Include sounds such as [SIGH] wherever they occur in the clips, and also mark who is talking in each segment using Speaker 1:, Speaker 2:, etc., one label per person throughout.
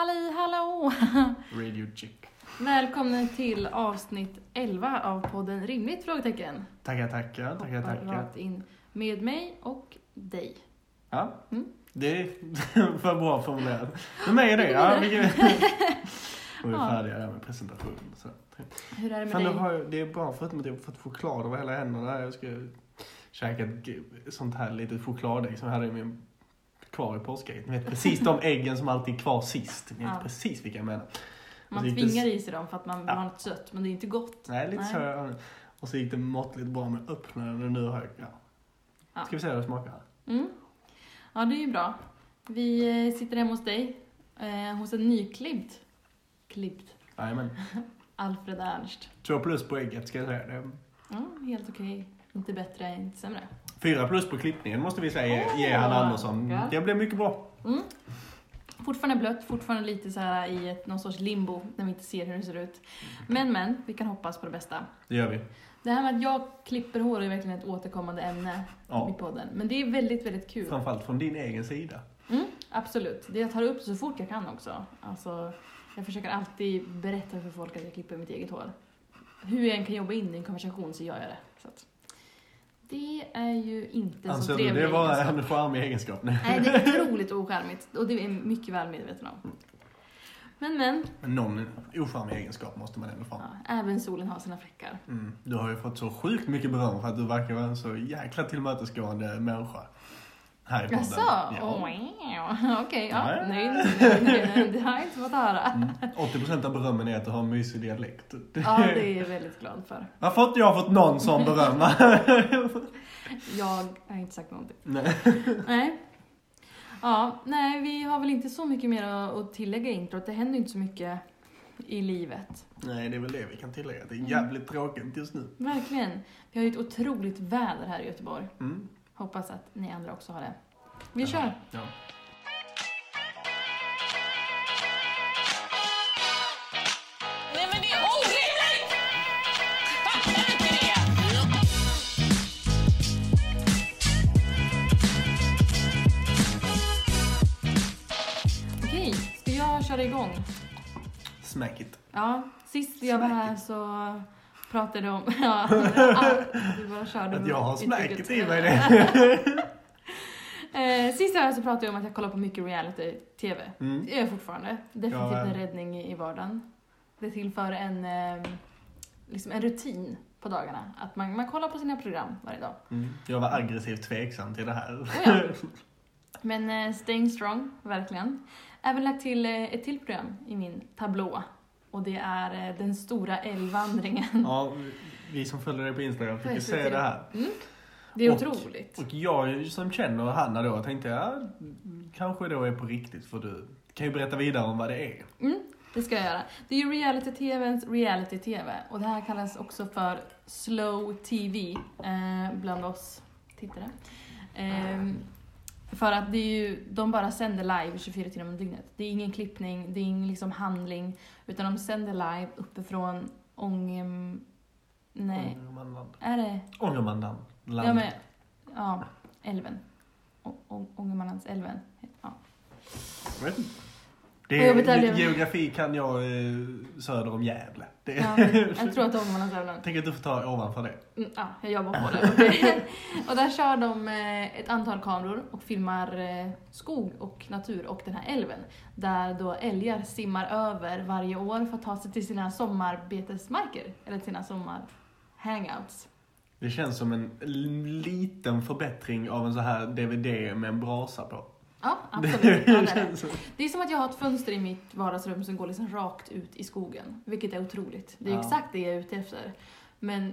Speaker 1: hallå!
Speaker 2: Radio Chick.
Speaker 1: Välkomna till avsnitt 11 av podden Rimligt? frågetecken.
Speaker 2: Tackar, tackar, tackar,
Speaker 1: Hoppar
Speaker 2: tackar.
Speaker 1: rakt in med mig och dig.
Speaker 2: Ja.
Speaker 1: Mm.
Speaker 2: Det [LAUGHS] var bra formulerat. Men med är det.
Speaker 1: [LAUGHS]
Speaker 2: Ja, vi Och vi är
Speaker 1: Ja.
Speaker 2: färdiga där med presentationen. Så.
Speaker 1: Hur är det med
Speaker 2: Fan, nu
Speaker 1: dig?
Speaker 2: har jag, det är bra förutom att jag har fått choklad över hela händerna. Jag ska käka ett g- sånt här litet chokladägg som jag hade i min kvar i påskägget. Ni vet precis de äggen som alltid är kvar sist. Ni vet
Speaker 1: Ja.
Speaker 2: precis vilka jag menar.
Speaker 1: Man
Speaker 2: det gick
Speaker 1: tvingar i sig dem för att man vill
Speaker 2: Ja.
Speaker 1: ha något sött, men det är inte gott.
Speaker 2: Nej, lite
Speaker 1: Nej.
Speaker 2: så. jag- Och så gick det måttligt bra med öppnaren och nu har jag... Ja.
Speaker 1: Ja.
Speaker 2: Ska vi se hur det smakar?
Speaker 1: Mm. Ja, det är ju bra. Vi eh, sitter hemma hos dig, eh, hos en nyklippt, klippt,
Speaker 2: Jajamän.
Speaker 1: Alfred Ernst.
Speaker 2: Två plus på ägget ska jag säga. Det är
Speaker 1: Ja, helt okej. Inte bättre, inte sämre.
Speaker 2: Fyra plus på klippningen måste vi säga
Speaker 1: Åh,
Speaker 2: ge Hanna Andersson.
Speaker 1: ja.
Speaker 2: Det blev mycket bra.
Speaker 1: Mm. Fortfarande blött, fortfarande lite så här i ett, någon sorts limbo när vi inte ser hur det ser ut.
Speaker 2: Mm.
Speaker 1: Men men, vi kan hoppas på det bästa.
Speaker 2: Det gör vi.
Speaker 1: Det här med att jag klipper hår är verkligen ett återkommande ämne i
Speaker 2: Ja.
Speaker 1: podden. Men det är väldigt, väldigt kul.
Speaker 2: Framförallt från din egen sida.
Speaker 1: Mm, absolut. Det jag tar upp så fort jag kan också. Alltså, jag försöker alltid berätta för folk att jag klipper mitt eget hår. Hur jag än kan jobba in i en konversation så gör jag det. Så att, det är ju inte så
Speaker 2: Anser du
Speaker 1: trevlig
Speaker 2: Alltså, det var
Speaker 1: egenskap.
Speaker 2: en charmig egenskap? Nej.
Speaker 1: Nej,
Speaker 2: [LAUGHS]
Speaker 1: det är otroligt ocharmigt. Och det är jag mycket väl medveten om. Men men,
Speaker 2: Men Någon ocharmig egenskap måste man ändå fram.
Speaker 1: ja, även solen har sina fläckar.
Speaker 2: Mm. Du har ju fått så sjukt mycket beröm för att du verkar vara en så jäkla tillmötesgående människa. Här i podden.
Speaker 1: Jaså? Oh, wow. Okej, ja.
Speaker 2: Nej.
Speaker 1: Nöjd, nöjd, nöjd. Det har jag inte fått höra.
Speaker 2: Mm. 80% av berömmen är att du har en mysig dialekt.
Speaker 1: Ja, det är jag väldigt glad för.
Speaker 2: [LAUGHS] Varför har inte jag fått någon sån beröm?
Speaker 1: Jag har inte sagt någonting.
Speaker 2: [LAUGHS] Nej.
Speaker 1: Nej. Ja, nej, vi har väl inte så mycket mer att att tillägga i introt. Det händer ju inte så mycket i livet.
Speaker 2: Nej, det är väl det vi kan tillägga. Det är jävligt tråkigt just nu.
Speaker 1: Verkligen. Vi har ju ett otroligt väder här i Göteborg.
Speaker 2: Mm.
Speaker 1: Hoppas att ni andra också har det. Vi kör!
Speaker 2: Ja.
Speaker 3: Nej men det är orimligt! Fattar du inte det?
Speaker 1: Okej, ska jag köra igång?
Speaker 2: Smack it.
Speaker 1: Ja, sist jag var här så pratade jag om... [LAUGHS]
Speaker 2: [LAUGHS]
Speaker 1: Ja, du bara körde
Speaker 2: Att jag har
Speaker 1: uttrycket.
Speaker 2: smacket i mig det.
Speaker 1: [LAUGHS] Eh, Sist jag var här så pratade jag om att jag kollar på mycket reality-tv.
Speaker 2: Mm.
Speaker 1: Det gör jag fortfarande. Definitivt
Speaker 2: Ja, ja.
Speaker 1: en räddning i i vardagen. Det tillför en, eh, liksom en rutin på dagarna. Att man, man kollar på sina program varje dag.
Speaker 2: Mm. Jag var aggressivt tveksam till det här.
Speaker 1: Oh ja. Men eh, staying strong, verkligen. Även lagt till eh, ett till program i min tablå. Och det är eh, Den stora älgvandringen.
Speaker 2: [LAUGHS] Ja, vi som följer dig på Instagram fick
Speaker 1: På
Speaker 2: ju se
Speaker 1: SVT.
Speaker 2: det här.
Speaker 1: Det är
Speaker 2: Och-
Speaker 1: otroligt.
Speaker 2: Och jag som känner Hanna då tänkte ja, kanske då är på riktigt för du kan ju berätta vidare om vad det är.
Speaker 1: Mm, det ska jag göra. Det är ju reality-tvns reality-tv och det här kallas också för slow TV eh, bland oss tittare. Ehm, för att det är ju, de bara sänder live 24 timmar om dygnet. Det är ingen klippning, det är ingen liksom handling, utan de sänder live uppifrån Ångem... Nej,
Speaker 2: Ångermanland.
Speaker 1: är det...
Speaker 2: Ångermanland.
Speaker 1: Ja, men, ja älven. Å- Å- Ångermanlandsälven. Ja.
Speaker 2: Jag vet inte.
Speaker 1: Vad
Speaker 2: Det
Speaker 1: jobbigt det här
Speaker 2: är,
Speaker 1: blev.
Speaker 2: geografi kan jag eh, söder om Gävle. Det, [LAUGHS]
Speaker 1: Ja, jag tror att det är Ångermanlandsälven.
Speaker 2: Jag tänker att du får ta ovanför det.
Speaker 1: Mm, ja, jag jobbar på det. Okej. och där kör de eh, ett antal kameror och filmar eh, skog och natur och den här älven. Där då älgar simmar över varje år för att ta sig till sina sommarbetesmarker. Eller sina sommarhangouts.
Speaker 2: Det känns som en l- liten förbättring av en så här DVD med en brasa på.
Speaker 1: Ja, absolut.
Speaker 2: [LAUGHS]
Speaker 1: Ja, det, är det.
Speaker 2: känns så.
Speaker 1: det är som att jag har ett fönster i mitt vardagsrum som går liksom rakt ut i skogen. Vilket är otroligt. Det är
Speaker 2: Ja.
Speaker 1: exakt det jag är ute efter. Men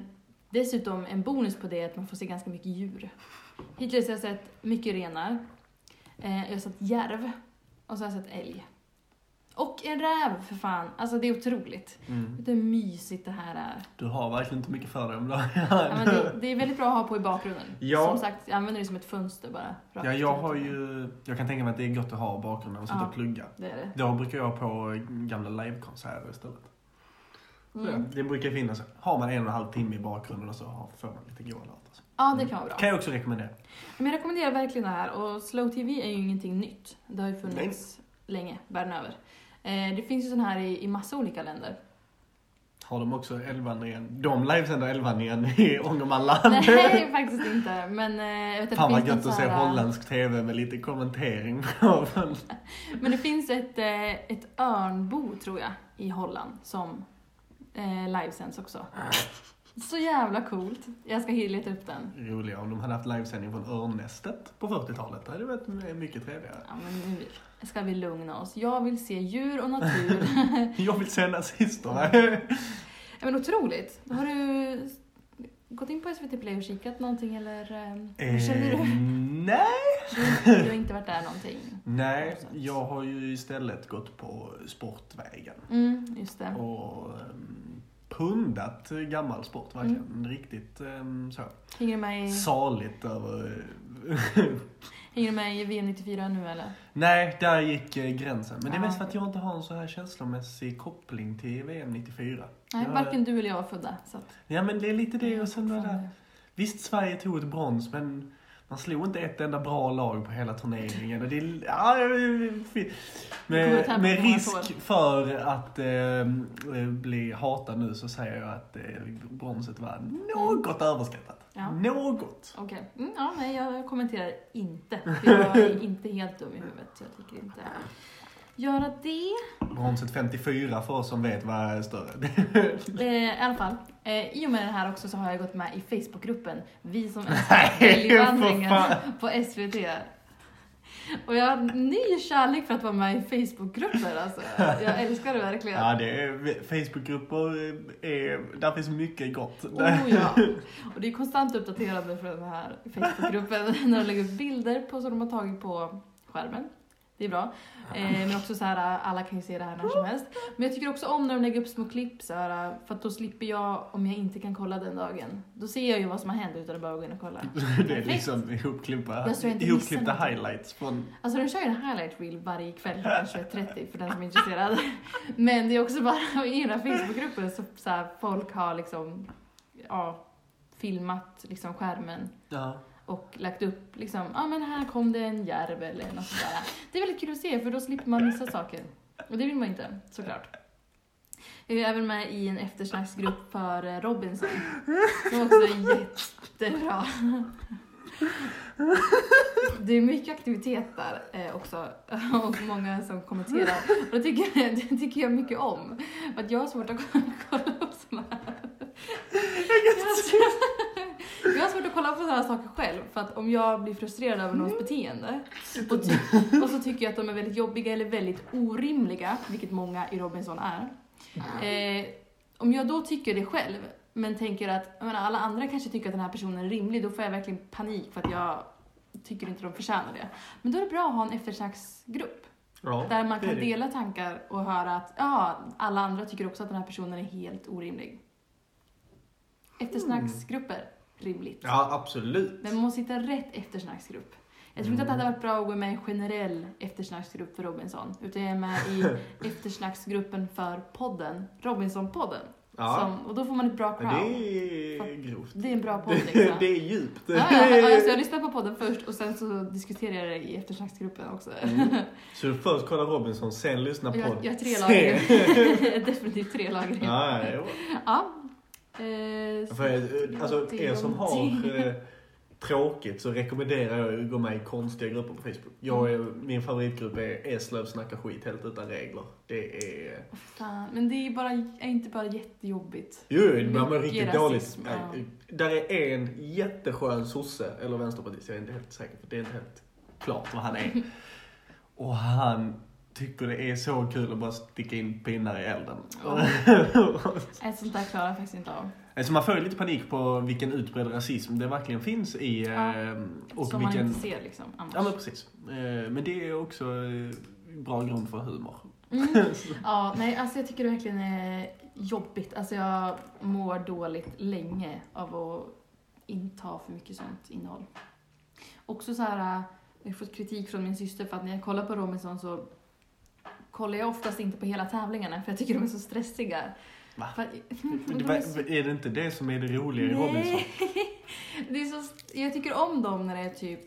Speaker 1: dessutom en bonus på det är att man får se ganska mycket djur. Hittills har jag sett mycket renar. Eh, jag har sett järv. Och så har jag sett älg. Och en räv för fan. Alltså det är otroligt.
Speaker 2: Mm.
Speaker 1: Vet du hur mysigt det här är.
Speaker 2: Du har verkligen inte mycket för dig om dagen.
Speaker 1: Ja, men det, det är väldigt bra att ha på i bakgrunden.
Speaker 2: Ja.
Speaker 1: Som sagt, jag använder det som ett fönster bara. rakt
Speaker 2: Ja, jag
Speaker 1: ut.
Speaker 2: har ju... Jag kan tänka mig att det är gott att ha i bakgrunden och sitta
Speaker 1: Ja.
Speaker 2: och plugga.
Speaker 1: Det är det.
Speaker 2: Då brukar jag ha på gamla livekonserter istället.
Speaker 1: Mm.
Speaker 2: Det brukar finnas. Har man en och en halv timme i bakgrunden och så har- får man lite goa låtar.
Speaker 1: Ja, det kan vara bra.
Speaker 2: Kan jag också rekommendera.
Speaker 1: Men jag rekommenderar verkligen det här och slow tv är ju ingenting nytt. Det har ju funnits länge världen över. Eh, det finns ju sån här i, i massa olika
Speaker 2: [LAUGHS]
Speaker 1: länder.
Speaker 2: Har de också elvandringen? De livesänder elvandringen [LAUGHS] i Ångermanland.
Speaker 1: Nej, faktiskt inte. Men, eh, jag vet, att
Speaker 2: Fan
Speaker 1: det
Speaker 2: vad
Speaker 1: finns något
Speaker 2: gött att
Speaker 1: så
Speaker 2: se
Speaker 1: här-
Speaker 2: holländsk TV med lite kommentering. [LAUGHS] på den.
Speaker 1: Men det finns ett, eh, ett örnbo, tror jag, i Holland som eh, livesänds också. Så jävla coolt. Jag ska he- leta upp den.
Speaker 2: Roliga om de hade haft livesändning från Örnnästet på 40-talet. Det hade varit mycket trevligare.
Speaker 1: Ja, men nu ska vi lugna oss. Jag vill se djur och natur.
Speaker 2: [LAUGHS] Jag vill se [LAUGHS] nazisterna.
Speaker 1: ja, men otroligt. Har du gått in på SVT Play och kikat någonting eller eh, hur känner
Speaker 2: Eh,
Speaker 1: du?
Speaker 2: nej.
Speaker 1: Du har inte varit där någonting?
Speaker 2: Nej, jag har ju istället gått på Sportvägen.
Speaker 1: Mm, just det.
Speaker 2: Och um, pundat gammal sport verkligen.
Speaker 1: Mm.
Speaker 2: Riktigt ehm, så.
Speaker 1: Hänger du med i,
Speaker 2: Saligt över... eh,
Speaker 1: hänger du med i VM 94 nu eller?
Speaker 2: Nej, där gick eh, gränsen. Men det är
Speaker 1: Ja.
Speaker 2: mest för att jag inte har en så här känslomässig koppling till VM 94.
Speaker 1: Nej,
Speaker 2: Ja.
Speaker 1: varken du eller jag är födda. Så att,
Speaker 2: Ja, men det är lite det och sen det där.
Speaker 1: Fan.
Speaker 2: Visst, Sverige tog ett brons, men man slog inte ett enda bra lag på hela turneringen. Och det är, ja,
Speaker 1: kommer att
Speaker 2: med,
Speaker 1: tappa
Speaker 2: med
Speaker 1: många
Speaker 2: risk
Speaker 1: tår.
Speaker 2: för att eh, bli hatad nu så säger jag att eh, bronset var något överskattat.
Speaker 1: Ja.
Speaker 2: Något.
Speaker 1: Okej. Mm, ja, nej, jag kommenterar inte.
Speaker 2: [LAUGHS]
Speaker 1: För jag är inte helt dum i huvudet, så jag tänker inte göra det.
Speaker 2: Bronset 54 för oss som vet vad
Speaker 1: [LAUGHS]
Speaker 2: är större.
Speaker 1: Eh, I alla fall, eh, i och med det här också så har jag gått med i Facebookgruppen Vi som
Speaker 2: Nej, [LAUGHS] för
Speaker 1: älskar
Speaker 2: fan.
Speaker 1: på SVT. Och jag har ny kärlek för att vara med i Facebookgrupper alltså. Jag älskar det verkligen.
Speaker 2: Ja, det är, Facebookgrupper är, där finns mycket gott.
Speaker 1: Oh ja! Och det är konstant uppdaterande från den här Facebookgruppen [LAUGHS] när de lägger upp bilder på som de har tagit på skärmen. Det är bra. Eh, men också så här, alla kan ju se det här när som helst. Men jag tycker också om när de lägger upp små klipp så här, för att då slipper jag, om jag inte kan kolla den dagen, då ser jag ju vad som har hänt utan att behöva gå in och kolla.
Speaker 2: Det är
Speaker 1: Perfekt.
Speaker 2: liksom ihopklippta,
Speaker 1: Jag tror jag inte
Speaker 2: ihopklippta
Speaker 1: missar något.
Speaker 2: highlights från
Speaker 1: Alltså de kör ju en highlight reel varje kväll klockan 21.30 för den som är intresserad. [LAUGHS] Men det är också bara [LAUGHS] i den här Facebookgruppen så, så här, folk har liksom, ja, filmat liksom skärmen
Speaker 2: ja,
Speaker 1: och lagt upp liksom, ja ah, men här kom det en järv eller något sådär. Det är väldigt kul att se för då slipper man missa saker. Och det vill man inte, såklart. Jag är även med i en eftersnacksgrupp för eh, Robinson. Som också är jättebra. Det är mycket aktivitet där eh, också och många som kommenterar. Och det tycker, jag- det tycker jag mycket om. För att jag har svårt att kolla upp sådana här. Jag har svårt- Jag har svårt att kolla på sådana här saker själv för att om jag blir frustrerad över någons
Speaker 2: Mm.
Speaker 1: beteende och, ty- och så tycker jag att de är väldigt jobbiga eller väldigt orimliga, vilket många i Robinson är. Eh, om jag då tycker det själv, men tänker att jag menar, alla andra kanske tycker att den här personen är rimlig, då får jag verkligen panik för att jag tycker inte de förtjänar det. Men då är det bra att ha en eftersnacksgrupp
Speaker 2: ja,
Speaker 1: där man
Speaker 2: det
Speaker 1: kan
Speaker 2: är det.
Speaker 1: dela tankar och höra att ja, alla andra tycker också att den här personen är helt orimlig.
Speaker 2: Mm.
Speaker 1: Eftersnacksgrupper, rimligt.
Speaker 2: Ja, absolut.
Speaker 1: Men man måste hitta rätt eftersnacksgrupp. Jag tror inte att det hade
Speaker 2: Mm.
Speaker 1: varit bra att gå med i en generell eftersnacksgrupp för Robinson, utan jag är med
Speaker 2: [LAUGHS]
Speaker 1: i eftersnacksgruppen för podden, Robinsonpodden.
Speaker 2: Ja.
Speaker 1: Som, och då får man ett bra crowd.
Speaker 2: Men det är grovt.
Speaker 1: Det är en
Speaker 2: [LAUGHS]
Speaker 1: bra podd liksom.
Speaker 2: Det är djupt.
Speaker 1: Ja, ja, ja, alltså jag lyssnar på podden först och sen så diskuterar jag det i eftersnacksgruppen också.
Speaker 2: Mm. Så du först kollar Robinson, sen lyssnar på...
Speaker 1: Jag, jag har tre
Speaker 2: sen-
Speaker 1: lager. [LAUGHS] Definitivt tre lager.
Speaker 2: [LAUGHS] Ja, ja,
Speaker 1: Ja. Eh,
Speaker 2: jo.
Speaker 1: så-
Speaker 2: För, eh, alltså, er som
Speaker 1: [LAUGHS]
Speaker 2: har eh, tråkigt så rekommenderar jag att gå med i konstiga grupper på Facebook. Jag är, min favoritgrupp är Eslöv snackar skit helt utan regler. Det är...
Speaker 1: Fan, men det är, bara, är inte bara jättejobbigt.
Speaker 2: Jo, det börjar man
Speaker 1: Mycket
Speaker 2: riktigt dåligt.
Speaker 1: rasism, ja.
Speaker 2: Nej, Där är en jätteskön sosse, eller vänsterpartist, jag är inte helt säker för det är inte helt klart vad
Speaker 1: [LAUGHS]
Speaker 2: han är. Och han tycker det är så kul att bara sticka in pinnar i elden.
Speaker 1: Ja. Ett sånt där klarar jag faktiskt inte av.
Speaker 2: [LAUGHS] alltså man får ju lite panik på vilken utbredd rasism det verkligen finns i.
Speaker 1: Ja.
Speaker 2: eh, Och
Speaker 1: som
Speaker 2: vilken...
Speaker 1: man inte ser liksom annars.
Speaker 2: Ja men precis. Eh, Men det är också eh, bra grund
Speaker 1: [LAUGHS]
Speaker 2: för humor. [LAUGHS]
Speaker 1: Mm. Ja, nej, alltså jag tycker det verkligen är jobbigt. Alltså jag mår dåligt länge av att inta för mycket sånt innehåll. Också så här, äh, jag har fått kritik från min syster för att när jag kollar på Robinson så kollar jag oftast inte på hela tävlingarna för jag tycker de är så stressiga.
Speaker 2: Va?
Speaker 1: För, de
Speaker 2: Va-
Speaker 1: är så
Speaker 2: Är det inte det
Speaker 1: [LAUGHS]
Speaker 2: som är det roliga i Robinson?
Speaker 1: Nej. Det är så, jag tycker om dem när det är typ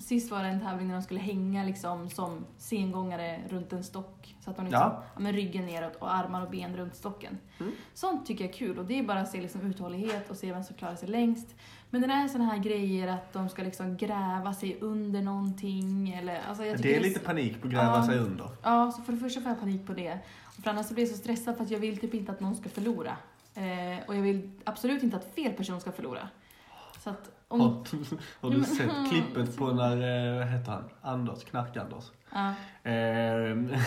Speaker 1: Sist var det en tävling när de skulle hänga liksom som sengångare runt en stock. Så att de liksom, ja.
Speaker 2: Ja.
Speaker 1: men ryggen neråt och armar och ben runt stocken.
Speaker 2: Mm.
Speaker 1: Sånt tycker jag är kul och det är bara att se liksom uthållighet och se vem som klarar sig längst. Men när det är såna här grejer att de ska liksom gräva sig under någonting eller... Alltså jag tycker
Speaker 2: Det är lite panik på att gräva
Speaker 1: Ja.
Speaker 2: sig under.
Speaker 1: Ja, så för det första får jag panik på det. Och för annars så blir jag så stressad för att jag vill typ inte att någon ska förlora. Eh, och jag vill absolut inte att fel person ska förlora. Så att om...
Speaker 2: Har, har
Speaker 1: Men- [LAUGHS]
Speaker 2: du sett klippet på när, eh, vad heter han, Anders, Knark-Anders?
Speaker 1: Ja.
Speaker 2: Eh, [LAUGHS]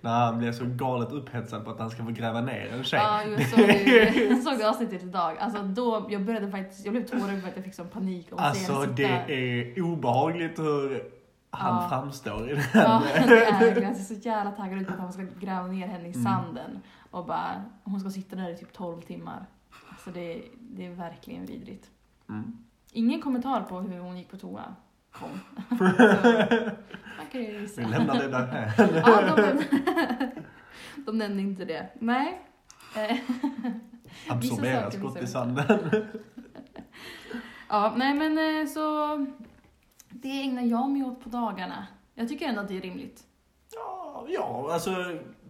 Speaker 2: när han blev så galet upphetsad på att han ska få gräva ner en tjej.
Speaker 1: Ja, jag såg, det- jag såg det avsnittet idag. Alltså då, jag började faktiskt, jag blev tårögd för att jag fick sån panik om att se
Speaker 2: Alltså
Speaker 1: henne
Speaker 2: det
Speaker 1: sitta.
Speaker 2: är obehagligt hur han
Speaker 1: Ja.
Speaker 2: framstår i den.
Speaker 1: Ja, det är verkligen. Jag ser så jävla taggad ut på att han ska gräva ner henne i sanden och bara, hon ska sitta där i typ 12 timmar. Alltså det, det är verkligen vidrigt.
Speaker 2: Mm.
Speaker 1: Ingen kommentar på hur hon gick på toa kom. [LAUGHS] Så, man kan ju
Speaker 2: Vi
Speaker 1: gissa.
Speaker 2: lämnar det där.
Speaker 1: Ja, de, [LAUGHS] de nämnde inte det. Nej. [LAUGHS] Eh,
Speaker 2: Absorberar
Speaker 1: saker
Speaker 2: skott i
Speaker 1: missar vi
Speaker 2: sanden.
Speaker 1: Ja, nej men eh, så det ägnar jag mig åt på dagarna. Jag tycker ändå att det är rimligt.
Speaker 2: Ja, ja, alltså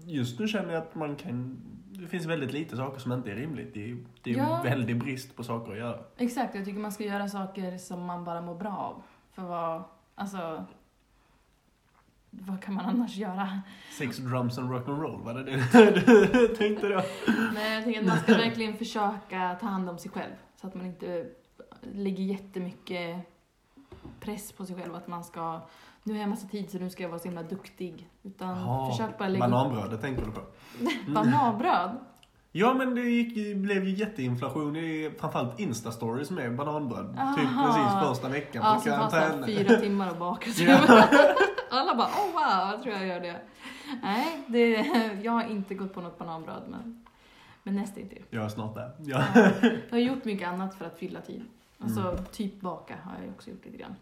Speaker 2: just nu känner jag att man kan... Det finns väldigt lite saker som inte är rimligt. Det är, det är ju
Speaker 1: Ja.
Speaker 2: en väldig brist på saker att göra.
Speaker 1: Exakt, jag tycker man ska göra saker som man bara mår bra av. För vad, alltså, vad kan man annars göra?
Speaker 2: Sex, drums and rock'n'roll, var det det du [LAUGHS] tänkte då?
Speaker 1: Men jag tänker att man ska verkligen försöka ta hand om sig själv. Så att man inte lägger jättemycket press på sig själv att man ska, nu har jag massa tid så nu ska jag vara så himla duktig. Utan
Speaker 2: Jaha, Mm.
Speaker 1: försök bara lägga
Speaker 2: Bananbrödet tänker du på.
Speaker 1: bananbröd.
Speaker 2: Ja men det gick, ju- blev ju jätteinflation i framförallt instastories med bananbröd. Typ
Speaker 1: Aha.
Speaker 2: precis första veckan
Speaker 1: Ja,
Speaker 2: på
Speaker 1: som tar såhär
Speaker 2: karantän.
Speaker 1: fyra timmar att baka.
Speaker 2: Ja.
Speaker 1: [LAUGHS] Alla bara oh wow, jag tror jag gör det. Nej, det, jag har inte gått på något bananbröd men, men nästintill.
Speaker 2: Jag är snart där. Ja.
Speaker 1: [LAUGHS]
Speaker 2: Mm.
Speaker 1: Jag har gjort mycket annat för att fylla tid. Alltså typ baka har jag också gjort lite grann.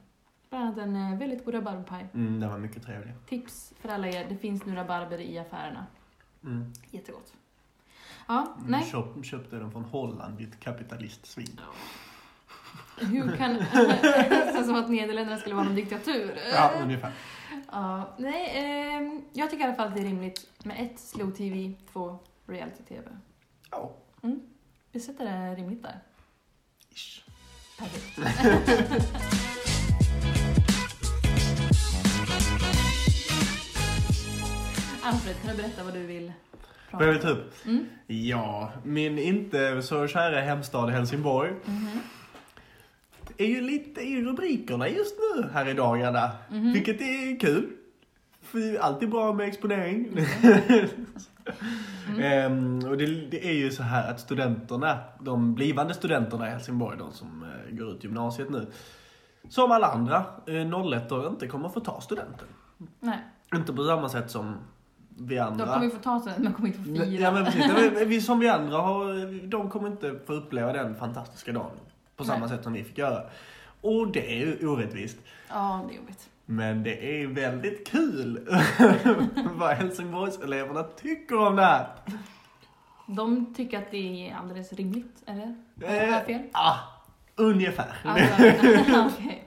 Speaker 1: Bland annat en eh, väldigt god rabarberpaj.
Speaker 2: Mm, det var mycket trevligt.
Speaker 1: Tips för alla er, det finns nu rabarber i affärerna.
Speaker 2: Mm.
Speaker 1: Jättegott. Ja,
Speaker 2: Mm,
Speaker 1: nej.
Speaker 2: köp, köpte den från Holland, ditt kapitalistsvin.
Speaker 1: Hur kan...
Speaker 2: [LAUGHS]
Speaker 1: [LAUGHS] Det känns som att Nederländerna skulle vara en diktatur.
Speaker 2: Ja, ungefär.
Speaker 1: Ja, nej, ehm, jag tycker i alla fall att det är rimligt med ett slow tv, två reality tv.
Speaker 2: Ja.
Speaker 1: Mm. Vi sätter det rimligt där.
Speaker 2: Ish.
Speaker 1: Perfekt. Alfred, kan du berätta vad du vill prata om?
Speaker 2: Vad är vi ta upp?
Speaker 1: Mm.
Speaker 2: Ja, min inte så kära hemstad Helsingborg
Speaker 1: Mhm.
Speaker 2: är ju lite i rubrikerna just nu här i dagarna.
Speaker 1: Mhm.
Speaker 2: Vilket är kul. För det är alltid bra med exponering.
Speaker 1: Mm-hmm.
Speaker 2: [LAUGHS] Ehm, och det, det är ju så här att studenterna, de blivande studenterna i Helsingborg, de som eh, går ut gymnasiet nu, som alla andra eh, 01 inte kommer få ta studenten.
Speaker 1: Nej,
Speaker 2: Inte på samma sätt som vi andra.
Speaker 1: de kommer ju få ta sig men kommer inte få fira.
Speaker 2: Ja men precis, Nej, men vi som vi andra har, de kommer inte få uppleva den fantastiska dagen på samma
Speaker 1: Nej.
Speaker 2: sätt som vi fick göra. Och det är ju orättvist.
Speaker 1: Ja, det är jobbigt.
Speaker 2: Men det är väldigt kul [LAUGHS] vad Helsingborgseleverna tycker om det här.
Speaker 1: De tycker att det är alldeles rimligt, eller? Har jag
Speaker 2: Eh,
Speaker 1: fel?
Speaker 2: ah, ungefär.
Speaker 1: Alltså, [LAUGHS] okej.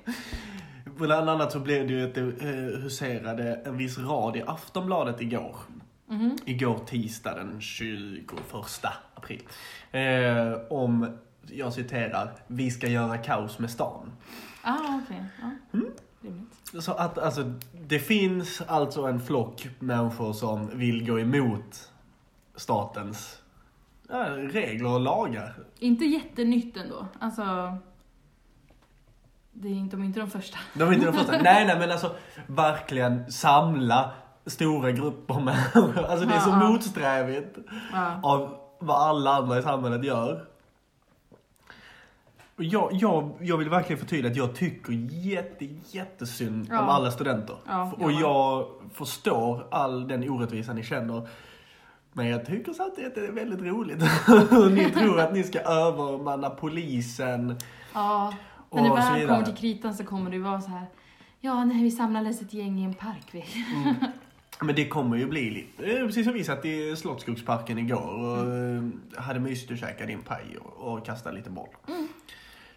Speaker 2: Bland annat så blev det ju att det eh, huserade en viss rad i Aftonbladet igår.
Speaker 1: Mhm.
Speaker 2: Igår tisdag den 21 april. Eh, om, jag citerar, vi ska göra kaos med stan.
Speaker 1: Ah, okej. Ja.
Speaker 2: Mm.
Speaker 1: Rimligt.
Speaker 2: Så att alltså, det finns alltså en flock människor som vill gå emot statens ja, regler och lagar.
Speaker 1: Inte jättenytt ändå. Alltså, det är inte, de är inte de första.
Speaker 2: De är inte de
Speaker 1: [LAUGHS]
Speaker 2: första. nej, nej, men alltså verkligen samla stora grupper människor. Alltså det är så
Speaker 1: Ja, ja.
Speaker 2: motsträvigt
Speaker 1: Ja.
Speaker 2: av vad alla andra i samhället gör. Och Jag, jag, jag vill verkligen förtydliga att jag tycker jätte, jättesynd
Speaker 1: Ja.
Speaker 2: om alla studenter.
Speaker 1: Ja,
Speaker 2: och
Speaker 1: jag
Speaker 2: jag förstår all den orättvisa ni känner. Men jag tycker samtidigt att det är väldigt roligt [LAUGHS] hur ni tror att ni ska övermanna polisen.
Speaker 1: ja.
Speaker 2: Och
Speaker 1: När det
Speaker 2: så
Speaker 1: väl
Speaker 2: vidare.
Speaker 1: kommer till kritan så kommer det ju vara så här. Ja, nej, vi samlades ett gäng i en park. Vi.
Speaker 2: Men det kommer ju bli lite, eh, precis som vi satt i
Speaker 1: Mm.
Speaker 2: Slottsskogsparken igår och eh, hade mysigt och käkade din paj och, och kastade lite boll.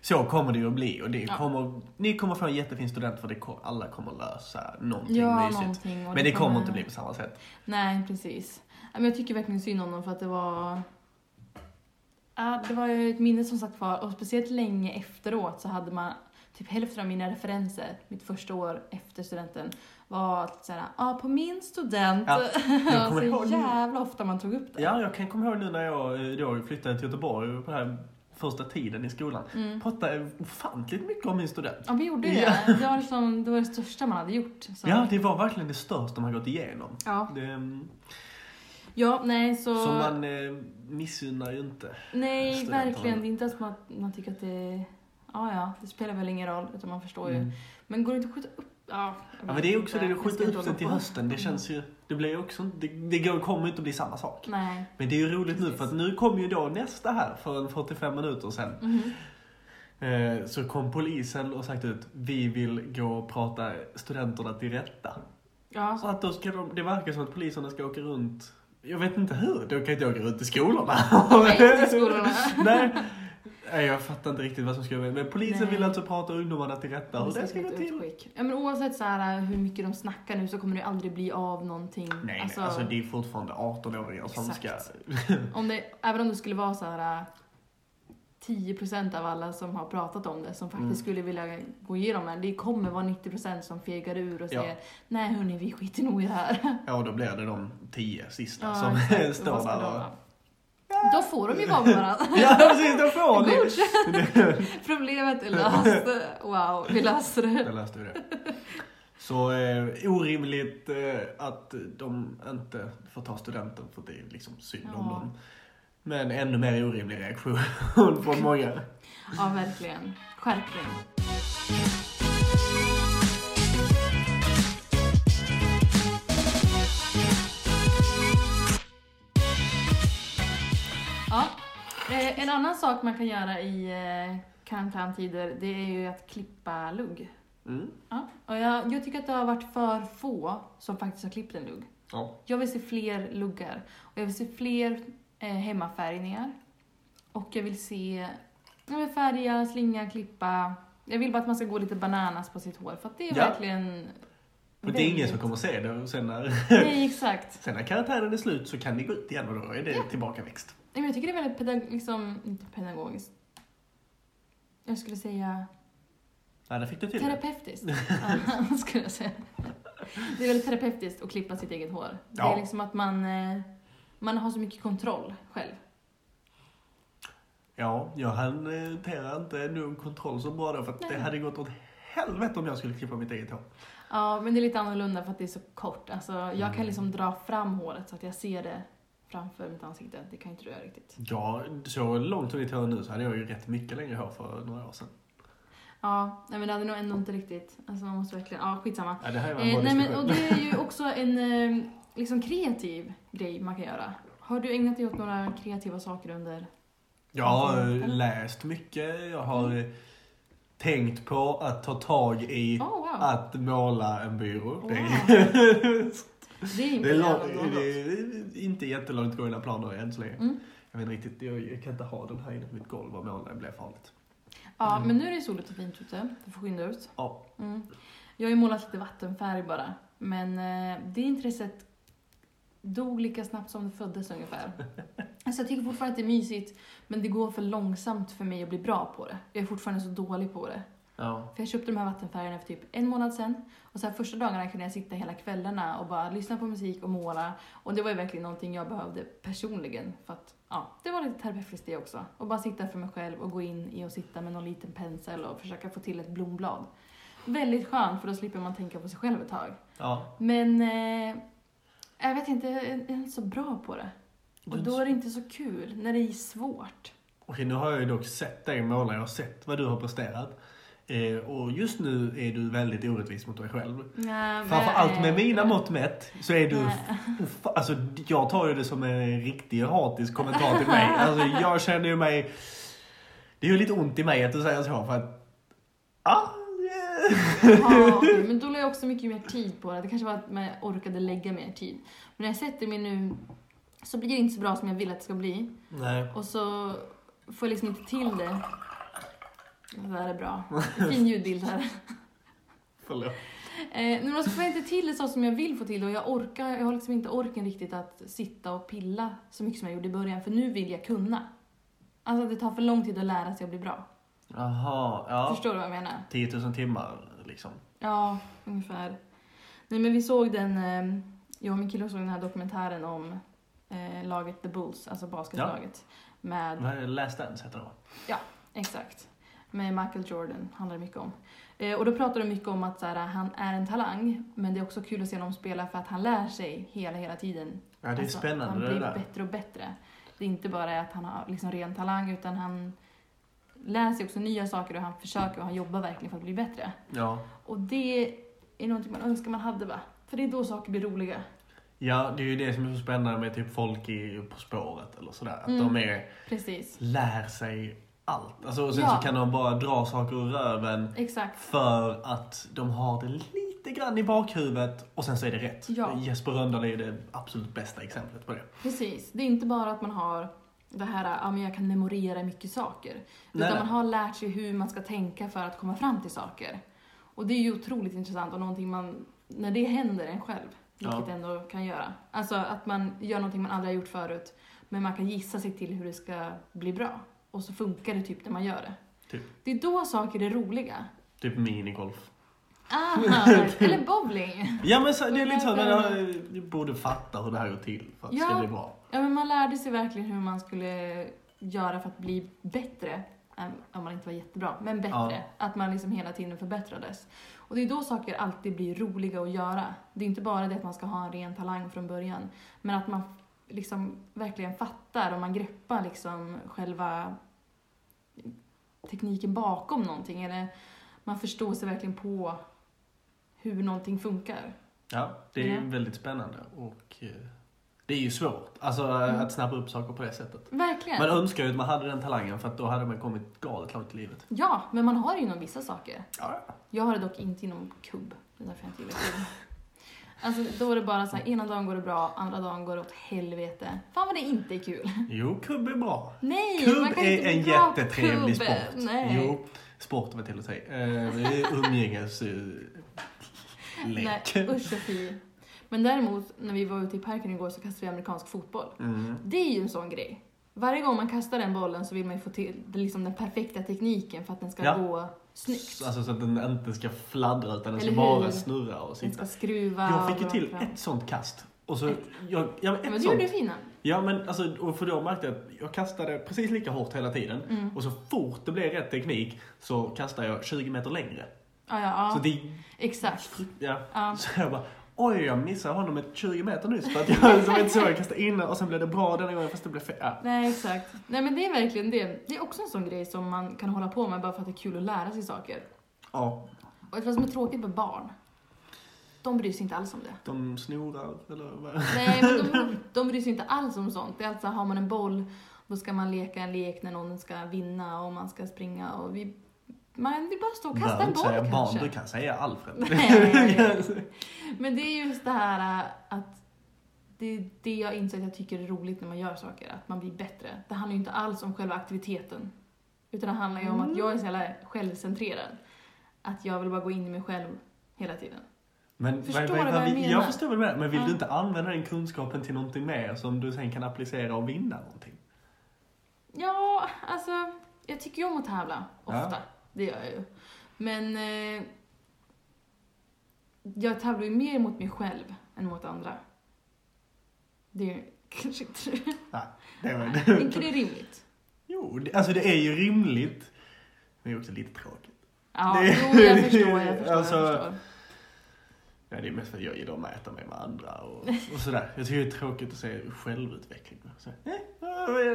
Speaker 2: Så kommer det ju att bli och det
Speaker 1: Mm. Ja.
Speaker 2: kommer, ni kommer få en jättefin student för det, ko- alla kommer lösa någonting
Speaker 1: Ja,
Speaker 2: mysigt.
Speaker 1: någonting. och
Speaker 2: Men det kommer inte bli på samma sätt.
Speaker 1: Nej, precis. Ja, Men jag tycker verkligen synd om dem för att det var... Ja, det var ju ett minne som sagt var och speciellt länge efteråt så hade man typ hälften av mina referenser mitt första år efter studenten var att såhär, ja ah, på min student. [LAUGHS]
Speaker 2: Ja, jag
Speaker 1: så
Speaker 2: kommer ihåg.
Speaker 1: jävla ofta man tog upp det.
Speaker 2: Ja, jag kan komma ihåg nu när jag eh, då flyttade till Göteborg på den här första tiden i skolan.
Speaker 1: Mm. Alltså.
Speaker 2: Pratade ofantligt mycket om min student.
Speaker 1: Ja, vi gjorde ju
Speaker 2: Ja.
Speaker 1: det. Det var, liksom, det var det största man hade gjort. Så.
Speaker 2: Ja, det var verkligen det största man gått igenom.
Speaker 1: ja.
Speaker 2: Det, mm,
Speaker 1: ja, nej så...
Speaker 2: så man eh, missunnar ju inte.
Speaker 1: Nej,
Speaker 2: studenterna.
Speaker 1: verkligen. Det är inte som att man tycker att det... Ja, ja, det spelar väl ingen roll, utan man förstår ju. Men går det inte att skjuta upp... Ja, jag
Speaker 2: Mm. Ja, men
Speaker 1: vet
Speaker 2: det är
Speaker 1: inte.
Speaker 2: också det, du
Speaker 1: Jag ska
Speaker 2: skjuter
Speaker 1: inte
Speaker 2: upp sen
Speaker 1: hålla
Speaker 2: till
Speaker 1: på.
Speaker 2: hösten. Det känns ju, det blir ju också, det, det går- kommer ju inte bli samma sak.
Speaker 1: Nej.
Speaker 2: Men det är ju roligt nu
Speaker 1: Precis.
Speaker 2: för att nu kom ju då nästa här för en 45 minuter sedan.
Speaker 1: Mhm.
Speaker 2: Eh, så kom polisen och sagt ut, vi vill gå och prata studenterna till rätta.
Speaker 1: Ja,
Speaker 2: Så att då ska de, det verkar som att poliserna ska åka runt, jag vet inte hur, de kan inte åka runt i skolorna. [LAUGHS]
Speaker 1: Nej, inte i skolorna.
Speaker 2: Nej. Nej, jag fattar inte riktigt vad som ska Men polisen
Speaker 1: Nej.
Speaker 2: vill alltså prata ungdomarna till rätta. Och det ska gå
Speaker 1: ett
Speaker 2: till.
Speaker 1: utskick. Ja, men oavsett så här, hur mycket de snackar nu så kommer det aldrig bli av någonting.
Speaker 2: Nej, alltså, alltså det är fortfarande 18-åringar som
Speaker 1: Exakt.
Speaker 2: ska
Speaker 1: om det, även om det skulle vara så här 10% av alla som har pratat om det som faktiskt
Speaker 2: Mm.
Speaker 1: skulle vilja gå igenom det. Det kommer vara 90% som fegar ur och
Speaker 2: Ja.
Speaker 1: säger nej hörni, vi skiter nog i det här.
Speaker 2: [LAUGHS] Ja, då blir det de tio sista
Speaker 1: Ja,
Speaker 2: som
Speaker 1: exakt. Och
Speaker 2: [LAUGHS]
Speaker 1: [LAUGHS]
Speaker 2: står
Speaker 1: vad ska
Speaker 2: där
Speaker 1: de
Speaker 2: och...
Speaker 1: ha? Då får de ju vara med varandra.
Speaker 2: Ja, precis, de får [LAUGHS] det!
Speaker 1: Godkänt. [LAUGHS] Problemet är löst.
Speaker 2: [LAUGHS]
Speaker 1: Wow, vi löste det.
Speaker 2: Där löste vi det. Så eh, orimligt eh, att de inte får ta studenten för det är liksom synd om
Speaker 1: Ja.
Speaker 2: dem. Men ännu mer orimlig reaktion [LAUGHS] från många.
Speaker 1: Ja, verkligen. Skärpning. Ja. eh, En annan sak man kan göra i eh, karantäntider, det är ju att klippa lugg.
Speaker 2: Mm.
Speaker 1: Ja. Och jag, jag tycker att det har varit för få som faktiskt har klippt en lugg.
Speaker 2: Ja.
Speaker 1: Jag vill se fler luggar. Och jag vill se fler eh, hemmafärgningar. Och jag vill se ja, men färga, slinga, klippa. Jag vill bara att man ska gå lite bananas på sitt hår. För att det är
Speaker 2: Ja.
Speaker 1: verkligen...
Speaker 2: Men det är ingen som
Speaker 1: väldigt-
Speaker 2: kommer se det och sen när,
Speaker 1: [LAUGHS] Nej, exakt.
Speaker 2: sen när karantänen är slut så kan ni gå ut igen och då är det tillbakaväxt.
Speaker 1: Nej, men jag tycker det är väldigt pedag- liksom, inte pedagogiskt. Jag skulle säga
Speaker 2: Ja, där fick du till det. [LAUGHS]
Speaker 1: terapeutiskt. Ja, [LAUGHS] skulle jag säga. Det är väldigt terapeutiskt att klippa sitt eget hår. Det
Speaker 2: Ja.
Speaker 1: är liksom att man, eh, man har så mycket kontroll själv.
Speaker 2: Ja, jag hanterar inte nog kontroll så bra då för att det
Speaker 1: Nej.
Speaker 2: hade gått åt helvete om jag skulle klippa mitt eget hår.
Speaker 1: Ja, men det är lite annorlunda för att det är så kort. Alltså, jag kan liksom dra fram håret så att jag ser det framför mitt ansikte. Det kan inte du göra riktigt.
Speaker 2: Ja, så långt som ditt hår är nu så hade jag ju rätt mycket längre hår för några år sedan.
Speaker 1: Ja, nej, men det hade nog ändå inte riktigt. Alltså man måste verkligen, ja skitsamma.
Speaker 2: Ja, det här är en
Speaker 1: Eh,
Speaker 2: bra
Speaker 1: nej men
Speaker 2: diskussion.
Speaker 1: och det är
Speaker 2: [LAUGHS]
Speaker 1: ju också en eh, liksom kreativ grej man kan göra. Har du ägnat dig åt några kreativa saker under?
Speaker 2: Jag har eh, läst mycket, jag har
Speaker 1: Mm.
Speaker 2: eh, tänkt på att ta tag i Ah,
Speaker 1: Oh wow!
Speaker 2: att måla en byrå.
Speaker 1: Wow.
Speaker 2: Det,
Speaker 1: [LAUGHS]
Speaker 2: är,
Speaker 1: Det är
Speaker 2: det, är
Speaker 1: imponerande.
Speaker 2: lång, det är inte jättelångt gångna planer än så länge.
Speaker 1: Mm.
Speaker 2: Jag vet inte riktigt, jag, jag kan inte ha den här inne på mitt golv och måla, det blir farligt.
Speaker 1: Ja, men nu är det soligt och fint ute. Du får skynda ut.
Speaker 2: Ja.
Speaker 1: Mm. Jag har ju målat lite vattenfärg bara, men eh, det intresset dog lika snabbt som det föddes ungefär. Alltså jag tycker fortfarande att det är mysigt, men det går för långsamt för mig att bli bra på det. Jag är fortfarande så dålig på det.
Speaker 2: Ja.
Speaker 1: För jag köpte de här vattenfärgerna för typ en månad sedan. Och så här första dagarna kunde jag sitta hela kvällarna och bara lyssna på musik och måla. Och det var ju verkligen någonting jag behövde personligen. För att ja, det var lite terapeutiskt det också. Och bara sitta för mig själv och gå in i och sitta med någon liten pensel och försöka få till ett blomblad. Väldigt skönt för då slipper man tänka på sig själv ett tag.
Speaker 2: ja.
Speaker 1: Men eh, jag vet inte, jag är jag är inte så bra på det. Och då är det inte så kul när det är svårt.
Speaker 2: Okej, nu har jag ju dock sett dig måla, jag har sett vad du har presterat. Eh, och just nu är du väldigt orättvis mot dig själv.
Speaker 1: Nej,
Speaker 2: Framförallt med
Speaker 1: nej.
Speaker 2: mina mått mätt så är du...
Speaker 1: Nej.
Speaker 2: Uff, alltså, jag tar ju det som en riktig hatisk kommentar
Speaker 1: [LAUGHS]
Speaker 2: till mig. Alltså, jag känner ju mig... Det gör lite ont i mig att du säger så för att... Ah, yeah.
Speaker 1: Ja, okej, men då la jag också mycket mer tid på det. Det kanske var att man orkade lägga mer tid. Men när jag sätter mig nu så blir det inte så bra som jag vill att det ska bli.
Speaker 2: Nej.
Speaker 1: Och så får jag liksom inte till det. Det där är bra. Fin ljudbild här.
Speaker 2: Förlåt.
Speaker 1: Eh, men alltså, får jag inte till det så som jag vill få till det och jag orkar, jag har liksom inte orken riktigt att sitta och pilla så mycket som jag gjorde i början för nu vill jag kunna. Alltså det tar för lång tid att lära sig att bli bra.
Speaker 2: Jaha, ja.
Speaker 1: Förstår du vad jag menar?
Speaker 2: 10 000 timmar liksom.
Speaker 1: Ja, ungefär. Nej men vi såg den, eh, jag och min kille såg den här dokumentären om eh, laget The Bulls, alltså basketlaget. Med
Speaker 2: Nej, Last Dance heter det va?
Speaker 1: Exakt. Med Michael Jordan handlar det mycket om. Eh, och då pratar de mycket om att så här, han är en talang, men det är också kul att se honom spela för att han lär sig hela, hela tiden.
Speaker 2: Ja, det är
Speaker 1: Alltså, Han
Speaker 2: spännande
Speaker 1: blir
Speaker 2: det där.
Speaker 1: bättre och bättre. Det är inte bara att han har liksom ren talang, utan han lär sig också nya saker och han försöker och han jobbar verkligen för att bli bättre.
Speaker 2: Ja.
Speaker 1: Och det är någonting man önskar man hade va? För det är då saker blir roliga.
Speaker 2: ja, det är ju det som är så spännande med typ folk i På spåret eller sådär. Att
Speaker 1: Mm.
Speaker 2: de är,
Speaker 1: Precis.
Speaker 2: lär sig allt. Alltså, och sen
Speaker 1: Ja.
Speaker 2: så kan de bara dra saker ur röven
Speaker 1: Exakt.
Speaker 2: för att de har det lite grann i bakhuvudet och sen så är det rätt.
Speaker 1: Ja.
Speaker 2: Jesper Rönndahl är ju det absolut bästa exemplet på det.
Speaker 1: Precis. Det är inte bara att man har det här, ja men jag kan memorera mycket saker.
Speaker 2: Nej,
Speaker 1: utan
Speaker 2: nej.
Speaker 1: man har lärt sig hur man ska tänka för att komma fram till saker. Och det är ju otroligt intressant och någonting man, när det händer en själv, vilket
Speaker 2: Ja.
Speaker 1: ändå kan göra. Alltså att man gör någonting man aldrig har gjort förut, men man kan gissa sig till hur det ska bli bra. Och så funkar det typ när man gör det.
Speaker 2: Typ.
Speaker 1: Det är då saker är roliga.
Speaker 2: Typ minigolf.
Speaker 1: Ah, eller bowling!
Speaker 2: Ja men så, det är lite så, men jag, du borde fatta hur det här går till för att det
Speaker 1: Ja.
Speaker 2: ska bli bra.
Speaker 1: Ja, men man lärde sig verkligen hur man skulle göra för att bli bättre. Äm, Om man inte var jättebra, men bättre. Att man liksom hela tiden förbättrades. Och det är då saker alltid blir roliga att göra. Det är inte bara det att man ska ha en ren talang från början, men att man liksom verkligen fattar och man greppar liksom själva tekniken bakom någonting. Eller man förstår sig verkligen på hur någonting funkar.
Speaker 2: Ja, det är
Speaker 1: Ja.
Speaker 2: ju väldigt spännande och eh, det är ju svårt alltså, eh,
Speaker 1: Mm.
Speaker 2: att snappa upp saker på det sättet.
Speaker 1: Verkligen!
Speaker 2: Man önskar ju att man hade den talangen för att då hade man kommit galet långt i livet.
Speaker 1: Ja, men man har det inom vissa saker.
Speaker 2: Ja.
Speaker 1: Jag har det dock inte inom kubb. Det är därför jag inte gillar kubb. Alltså, då är det bara så här, ena dagen går det bra, andra dagen går det åt helvete. Fan vad det inte är kul.
Speaker 2: Jo, kubb är bra.
Speaker 1: Nej,
Speaker 2: Kubb
Speaker 1: man kan
Speaker 2: är
Speaker 1: inte
Speaker 2: en
Speaker 1: bli bra på
Speaker 2: jättetrevlig
Speaker 1: kubb.
Speaker 2: sport.
Speaker 1: Nej.
Speaker 2: Jo, sport vad till att säga. Eh, Det
Speaker 1: [LAUGHS]
Speaker 2: är umgänges... eh,
Speaker 1: Nej,
Speaker 2: lek.
Speaker 1: usch och fy. Men däremot, när vi var ute i parken igår så kastade vi amerikansk fotboll.
Speaker 2: Mm.
Speaker 1: Det är ju en sån grej. Varje gång man kastar den bollen så vill man ju få till liksom den perfekta tekniken för att den ska
Speaker 2: Ja.
Speaker 1: gå snyggt.
Speaker 2: Alltså så att den inte ska fladdra utan den ska
Speaker 1: Eller hur?
Speaker 2: bara snurra och
Speaker 1: den ska
Speaker 2: sitta.
Speaker 1: skruva.
Speaker 2: Jag fick ju
Speaker 1: och
Speaker 2: till
Speaker 1: dra fram.
Speaker 2: ett sånt kast. Och så,
Speaker 1: Ett?
Speaker 2: jag, ja, men
Speaker 1: Men
Speaker 2: ett
Speaker 1: du gjorde
Speaker 2: sånt.
Speaker 1: det fina.
Speaker 2: Ja men alltså, och för då märkte jag att jag kastade precis lika hårt hela tiden.
Speaker 1: Mm.
Speaker 2: Och så fort det blev rätt teknik så kastade jag 20 meter längre.
Speaker 1: Ja, ja,
Speaker 2: Så
Speaker 1: ja.
Speaker 2: det
Speaker 1: Exakt.
Speaker 2: ja.
Speaker 1: Ja.
Speaker 2: Så jag bara, oj jag missade honom ett 20 meter nyss för att jag [LAUGHS] som inte såg jag kastade in den och sen blev det bra denna gången fast det blev fel. Ja.
Speaker 1: Nej, exakt. Nej, men det är verkligen det. Det är också en sån grej som man kan hålla på med bara för att det är kul att lära sig saker.
Speaker 2: ja,
Speaker 1: Och det som är tråkigt med barn, de bryr sig inte alls om det.
Speaker 2: de snorar eller vad?
Speaker 1: Nej, men de, de bryr sig inte alls om sånt. Det är alltså, har man en boll, då ska man leka en lek när någon ska vinna och man ska springa och vi... Man vill bara stå och kasta
Speaker 2: Behöver
Speaker 1: en boll
Speaker 2: inte säga
Speaker 1: kanske.
Speaker 2: barn, du kan säga Alfred.
Speaker 1: Nej. Men det är just det här äh, att det är det jag inser att jag tycker är roligt när man gör saker, att man blir bättre. Det handlar ju inte alls om själva aktiviteten. Utan det handlar ju om att jag är så jävla självcentrerad. Att jag vill bara gå in i mig själv hela tiden.
Speaker 2: Men,
Speaker 1: Förstår
Speaker 2: vad-
Speaker 1: du
Speaker 2: vad-
Speaker 1: vad
Speaker 2: vad
Speaker 1: jag
Speaker 2: vill-
Speaker 1: menar?
Speaker 2: Jag förstår vad du menar, men vill
Speaker 1: Ja.
Speaker 2: du inte använda den kunskapen till någonting mer som du sen kan applicera och vinna någonting?
Speaker 1: Ja, alltså jag tycker ju om att tävla ofta.
Speaker 2: Ja.
Speaker 1: Det gör jag ju. Men eh, jag tävlar ju mer mot mig själv än mot andra. Det är ju kanske inte...
Speaker 2: Det var,
Speaker 1: Är inte det rimligt?
Speaker 2: [LAUGHS] Jo, det, alltså det är ju rimligt. Men det är också lite tråkigt.
Speaker 1: Ja,
Speaker 2: Det-
Speaker 1: jo, jag förstår, jag förstår,
Speaker 2: Alltså-
Speaker 1: jag förstår.
Speaker 2: Ja, det är mest för att jag gillar att mäta mig med andra och, och sådär. Jag tycker det är tråkigt att se självutveckling. Så, eh, vad är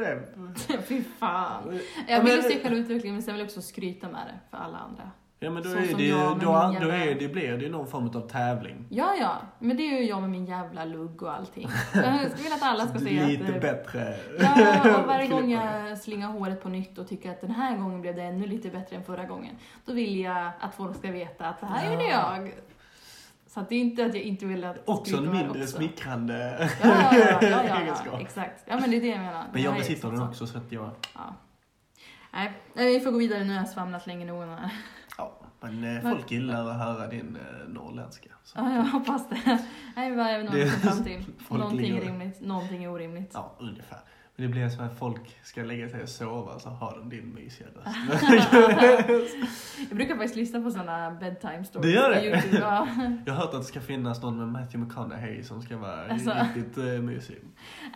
Speaker 1: [LAUGHS]
Speaker 2: det?
Speaker 1: Fy fan.
Speaker 2: Ja,
Speaker 1: Jag vill ju
Speaker 2: men-
Speaker 1: se självutveckling, men sen vill jag också skryta med det för alla andra.
Speaker 2: Ja, men då,
Speaker 1: Så
Speaker 2: är
Speaker 1: som
Speaker 2: det,
Speaker 1: jag med
Speaker 2: då,
Speaker 1: min
Speaker 2: an- då
Speaker 1: jävla-
Speaker 2: är det, blir det ju någon form av tävling.
Speaker 1: Ja, ja, men det är ju jag med min jävla lugg och allting. Jag skulle vilja att alla ska se
Speaker 2: lite
Speaker 1: att... eh,
Speaker 2: bättre.
Speaker 1: Ja, och varje
Speaker 2: [LAUGHS]
Speaker 1: gång
Speaker 2: Filippa.
Speaker 1: jag slingar håret på nytt och tycker att den här gången blev det ännu lite bättre än förra gången, då vill jag att folk ska veta att det här gjorde
Speaker 2: Ja.
Speaker 1: jag. Så att det är inte att jag inte vill att
Speaker 2: Också
Speaker 1: skryta
Speaker 2: en
Speaker 1: med det
Speaker 2: mindre
Speaker 1: också.
Speaker 2: smickrande
Speaker 1: Ja, ja, ja, ja, ja,
Speaker 2: [LAUGHS] egenskap.
Speaker 1: ja, exakt. Ja, men det är det jag menar. Det
Speaker 2: Men jag
Speaker 1: här är
Speaker 2: besitter
Speaker 1: sånt
Speaker 2: den
Speaker 1: som-
Speaker 2: också så att jag...
Speaker 1: Ja. Nej, nej, vi får gå vidare nu. Jag har svamlat länge nog. om det här.
Speaker 2: Ja, men eh,
Speaker 1: Men-
Speaker 2: folk gillar att höra din eh, norrländska. Så.
Speaker 1: Ja, jag hoppas det. Nej, vad är det
Speaker 2: Det-
Speaker 1: någon kom fram till?
Speaker 2: folk
Speaker 1: Någonting är
Speaker 2: ligger-
Speaker 1: rimligt, någonting är orimligt.
Speaker 2: Ja, ungefär. Men det blir som att folk ska lägga sig och sova så har de din mysiga
Speaker 1: [LAUGHS]
Speaker 2: [LAUGHS] röst.
Speaker 1: Jag brukar faktiskt lyssna på sådana bedtime stories
Speaker 2: Det gör
Speaker 1: på
Speaker 2: det?
Speaker 1: YouTube. Ja.
Speaker 2: [LAUGHS] Jag har hört att det ska finnas någon med Matthew McConaughey som ska vara
Speaker 1: Alltså.
Speaker 2: riktigt eh, mysig.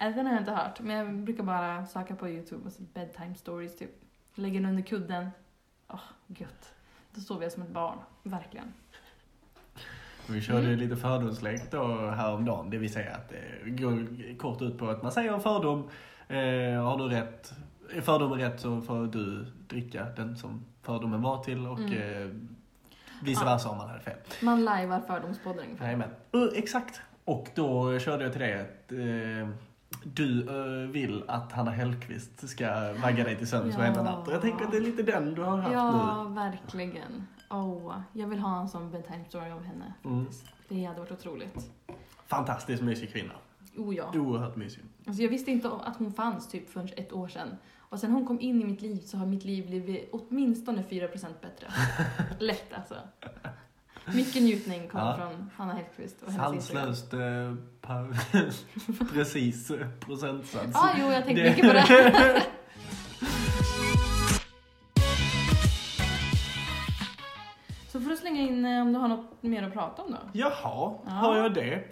Speaker 1: Nej, Den har jag inte hört, men jag brukar bara söka på YouTube och så bedtime stories typ. Lägger den under kudden. Åh, gött. Då sover jag som ett barn, verkligen.
Speaker 2: Vi körde
Speaker 1: Mm.
Speaker 2: lite fördomslek då häromdagen. Det vill säga att det går kort ut på att man säger en fördom. Eh, har du rätt, är fördomen rätt så får du dricka den som fördomen var till och
Speaker 1: Mm.
Speaker 2: eh, vice
Speaker 1: Ja.
Speaker 2: versa om man hade fel.
Speaker 1: Man lajvar Fördomspodden ungefär.
Speaker 2: Jajamän. Uh, exakt. Och då körde jag till dig att eh, du eh, vill att Hanna Hellquist ska vagga dig till sömns
Speaker 1: Ja.
Speaker 2: varenda natt. Och jag tänker att det är lite den du har haft
Speaker 1: Ja,
Speaker 2: Mm.
Speaker 1: verkligen. Åh, jag vill ha en sån bedtime story av henne.
Speaker 2: nu. Mm.
Speaker 1: Det hade varit otroligt.
Speaker 2: Fantastiskt mysig kvinna.
Speaker 1: Oh ja.
Speaker 2: Oerhört mysig.
Speaker 1: Alltså jag visste inte om att hon fanns typ förrän ett år sedan. Och sen hon kom in i mitt liv så har mitt liv blivit åtminstone 4%
Speaker 2: [LAUGHS]
Speaker 1: bättre. Lätt alltså. Mycket njutning kommer
Speaker 2: Ja.
Speaker 1: från Hanna Hellquist och hennes Instagram.
Speaker 2: Sanslöst eh, pa- [LAUGHS] precis eh, procentsats.
Speaker 1: Ja, ah, jo, jag tänkte mycket på
Speaker 2: [LAUGHS]
Speaker 1: det. Så får du slänga in eh, om du har något mer att prata om då.
Speaker 2: Jaha,
Speaker 1: Ja.
Speaker 2: har jag det?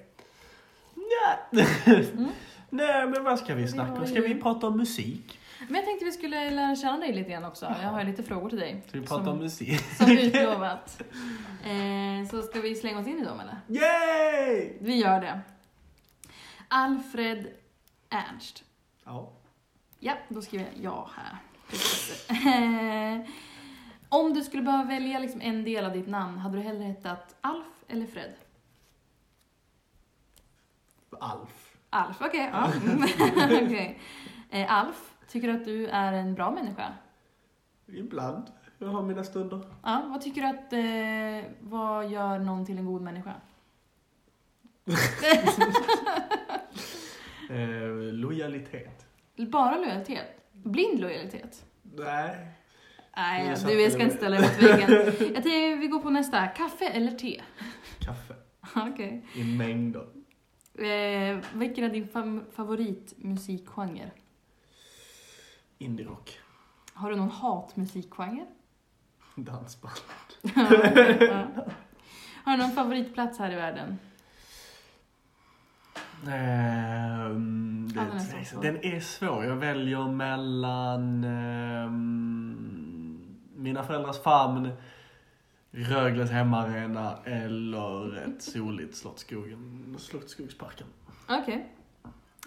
Speaker 2: Nej.
Speaker 1: Mm.
Speaker 2: Nej, men vad ska vi snacka om? Ska vi prata om musik?
Speaker 1: Men jag tänkte vi skulle lära känna dig lite grann också. Jag har ju lite frågor till dig.
Speaker 2: Ska vi prata
Speaker 1: som,
Speaker 2: om musik? [LAUGHS]
Speaker 1: Som utlovat. Eh, så ska vi slänga oss in i dem eller?
Speaker 2: Yay!
Speaker 1: Vi gör det. Alfred Ernst.
Speaker 2: Ja.
Speaker 1: Ja, då skriver jag ja här. Precis. Eh, Om du skulle behöva välja liksom en del av ditt namn, hade du hellre hetat Alf eller Fred?
Speaker 2: Alf.
Speaker 1: Alf, okej. ja. Mm. [LAUGHS] Okej. Eh, Alf, tycker du att du är en bra människa?
Speaker 2: Ibland. Jag har mina stunder.
Speaker 1: Ja, vad tycker du att, eh, vad gör någon till en god människa?
Speaker 2: Eh, lojalitet.
Speaker 1: Bara lojalitet? Blind lojalitet?
Speaker 2: Nej.
Speaker 1: Nej,
Speaker 2: Jag satt
Speaker 1: du jag ska
Speaker 2: med-
Speaker 1: inte ställa dig mot väggen. Jag tänker, vi går på nästa. Kaffe eller te? [LAUGHS]
Speaker 2: Kaffe.
Speaker 1: Okej.
Speaker 2: I mängder.
Speaker 1: Eh, vilken är din fam- favoritmusikgenre?
Speaker 2: Indierock.
Speaker 1: Har du någon
Speaker 2: [LAUGHS]
Speaker 1: hatmusikgenre?
Speaker 2: Dansband.
Speaker 1: Ja. Har du någon favoritplats här i världen?
Speaker 2: Ehm, det
Speaker 1: Ja, den är
Speaker 2: är
Speaker 1: så
Speaker 2: tveksamt.
Speaker 1: svår.
Speaker 2: den är svår. Jag väljer mellan ehm, mina föräldrars famn, Rögles hemmaarena eller ett soligt Slottsskogen, Slottsskogsparken.
Speaker 1: Okej.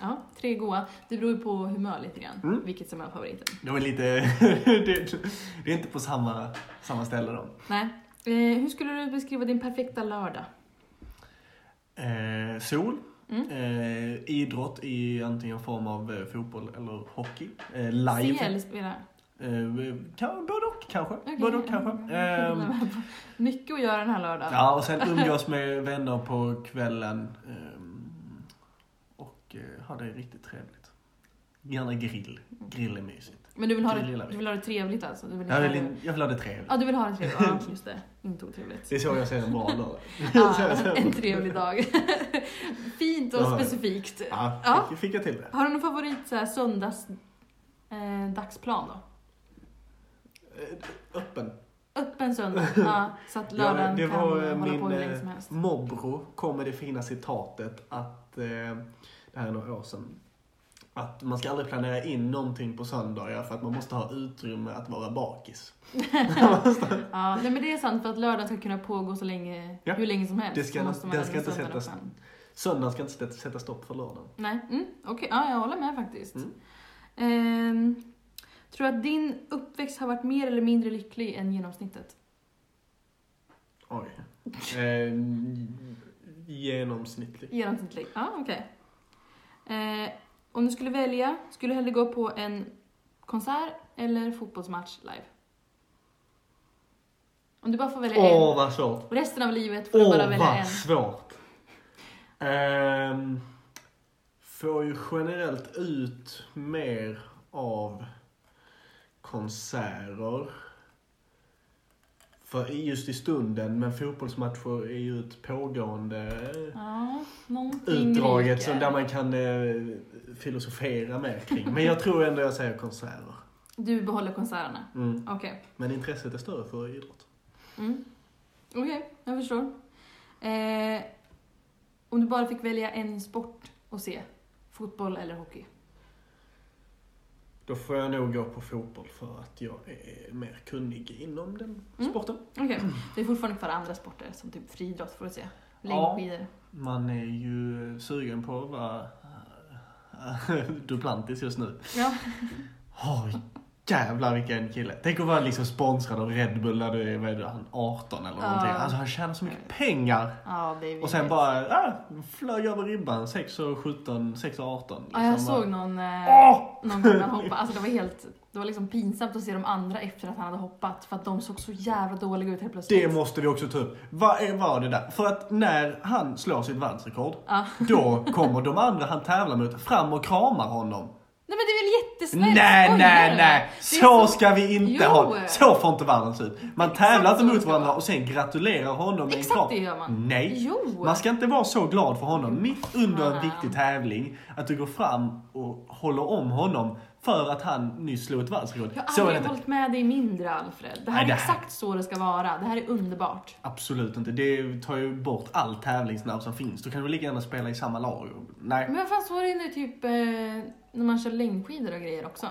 Speaker 1: Ja, tre goa. Det beror ju på humör lite grann,
Speaker 2: Mm.
Speaker 1: vilket som är favoriten.
Speaker 2: Det var lite... [LAUGHS] det, det är inte på samma, samma ställe då.
Speaker 1: Nej. Eh, hur skulle du beskriva din perfekta lördag?
Speaker 2: Eh, sol.
Speaker 1: Mm.
Speaker 2: Eh, idrott i antingen form av eh, fotboll eller hockey. Eh, live.
Speaker 1: CL spelar.
Speaker 2: Eh, kan, både och kanske.
Speaker 1: Okej.
Speaker 2: Både och kanske. Ehm,
Speaker 1: [LAUGHS] Mycket att göra den här lördagen.
Speaker 2: Ja, och sen umgås med vänner på kvällen. ehm, Och eh, ha det riktigt trevligt. Gärna grill. Grill är mysigt.
Speaker 1: Men du vill, ha
Speaker 2: Det
Speaker 1: det,
Speaker 2: gillar vi.
Speaker 1: du vill ha det trevligt alltså? Du vill
Speaker 2: Jag
Speaker 1: inte
Speaker 2: vill,
Speaker 1: ha det-
Speaker 2: in- jag vill ha det trevligt.
Speaker 1: Ja, du vill ha det trevligt.
Speaker 2: [LAUGHS]
Speaker 1: Ja, just det. Inte otrevligt.
Speaker 2: Det är så jag ser en bra lördag.
Speaker 1: Ja, en trevlig dag. [LAUGHS] Fint och
Speaker 2: Ja.
Speaker 1: specifikt.
Speaker 2: Ja, fick, fick jag till det.
Speaker 1: Har du någon favorit så här, söndags eh, dagsplan då?
Speaker 2: Eh, Öppen.
Speaker 1: Öppen
Speaker 2: [LAUGHS]
Speaker 1: söndag, ja, så att lördagen
Speaker 2: det
Speaker 1: kan
Speaker 2: var, eh,
Speaker 1: hålla på hur
Speaker 2: min,
Speaker 1: länge
Speaker 2: eh,
Speaker 1: som helst.
Speaker 2: Mobro kom med det fina citatet att, eh, det här är några år sedan, att man ska aldrig planera in någonting på söndagar för att man måste ha utrymme att vara bakis.
Speaker 1: Ja, nej, men det är sant för att lördagen ska kunna pågå så länge,
Speaker 2: Ja.
Speaker 1: hur länge som helst.
Speaker 2: Det ska-
Speaker 1: så måste man
Speaker 2: den
Speaker 1: lämna
Speaker 2: ska inte
Speaker 1: söndagen
Speaker 2: sättas-
Speaker 1: öppen.
Speaker 2: Söndagen ska inte sätta- sätta stopp för lördagen.
Speaker 1: Nej, mm, okej. Ja, jag håller med faktiskt.
Speaker 2: Mm.
Speaker 1: Ehm, tror du att din uppväxt har varit mer eller mindre lycklig än genomsnittet?
Speaker 2: [LAUGHS] Oj. Eh, genomsnittlig.
Speaker 1: Genomsnittlig? Ja, okej. Eh, om du skulle välja, skulle du hellre gå på en konsert eller fotbollsmatch live? Om du bara får välja
Speaker 2: Åh,
Speaker 1: en.
Speaker 2: vad svårt.
Speaker 1: Och resten av livet får
Speaker 2: Åh,
Speaker 1: du bara välja en.
Speaker 2: vad svårt. Ehm, får ju generellt ut mer av konserter. För i- just i stunden, men fotbollsmatcher är ju ett pågående
Speaker 1: Ja, någonting
Speaker 2: utdraget
Speaker 1: ryker.
Speaker 2: som där man kan eh, filosofera mer kring. Men jag tror ändå jag säger konserter.
Speaker 1: Du behåller konserterna?
Speaker 2: Mm.
Speaker 1: Okej.
Speaker 2: Men intresset är större för idrott.
Speaker 1: Mm. Okej, jag förstår. Eh, om du bara fick välja en sport att se, fotboll eller hockey?
Speaker 2: Då får jag nog gå på fotboll för att jag är mer kunnig inom den
Speaker 1: Mm.
Speaker 2: sporten.
Speaker 1: Okej, det är fortfarande kvar andra sporter som typ friidrott får du se.
Speaker 2: Ja.
Speaker 1: Längdskidor.
Speaker 2: Man är ju sugen på att vara eh, [LAUGHS] Duplantis just nu.
Speaker 1: Ja.
Speaker 2: Åh, jävlar vilken kille. Tänk att vara liksom sponsrad av Red Bull när du är, vad är det, han 18 eller
Speaker 1: Ja.
Speaker 2: någonting. Alltså han tjänar så mycket pengar.
Speaker 1: ja, det är
Speaker 2: Och sen
Speaker 1: vidrigt.
Speaker 2: bara ah, flög över ribban 6 och 17, 6 och 18.
Speaker 1: Ja, jag
Speaker 2: liksom. Bara,
Speaker 1: såg någon, eh,
Speaker 2: Åh!
Speaker 1: någon gång han hoppade. Alltså det var helt... Det var liksom pinsamt att se de andra efter att han hade hoppat för att de såg så jävla dåliga ut helt plötsligt.
Speaker 2: Det måste vi också ta upp. Vad är- var det där? För att när han slår sitt världsrekord,
Speaker 1: Ja.
Speaker 2: [LAUGHS] då kommer de andra han tävlar mot fram och kramar honom.
Speaker 1: Nej men det är väl jättesnällt?
Speaker 2: Nej,
Speaker 1: Skojar
Speaker 2: nej,
Speaker 1: du?
Speaker 2: nej.
Speaker 1: Det är
Speaker 2: Så ska vi inte
Speaker 1: Jo.
Speaker 2: ha Så får inte världen se ut. Man tävlar
Speaker 1: Exakt
Speaker 2: inte
Speaker 1: så
Speaker 2: mot
Speaker 1: ska
Speaker 2: varandra
Speaker 1: man.
Speaker 2: och sen gratulerar honom med en
Speaker 1: Exakt
Speaker 2: kram.
Speaker 1: det gör man.
Speaker 2: Nej.
Speaker 1: Jo!
Speaker 2: Man ska inte vara så glad för honom mitt under en
Speaker 1: Fan.
Speaker 2: viktig tävling att du går fram och håller om honom för att han nyss slog ett världsrekord.
Speaker 1: Jag har
Speaker 2: Så är det
Speaker 1: aldrig
Speaker 2: inte.
Speaker 1: hållit med dig mindre Alfred. Det här
Speaker 2: Nej,
Speaker 1: är
Speaker 2: det här-
Speaker 1: exakt så det ska vara. Det här är underbart.
Speaker 2: Absolut inte. Det tar ju bort all tävlingsnerv som finns. Då kan du lika gärna spela i samma lag. Nej.
Speaker 1: Men vad fan så är det nu typ eh, när man kör längdskidor och grejer också?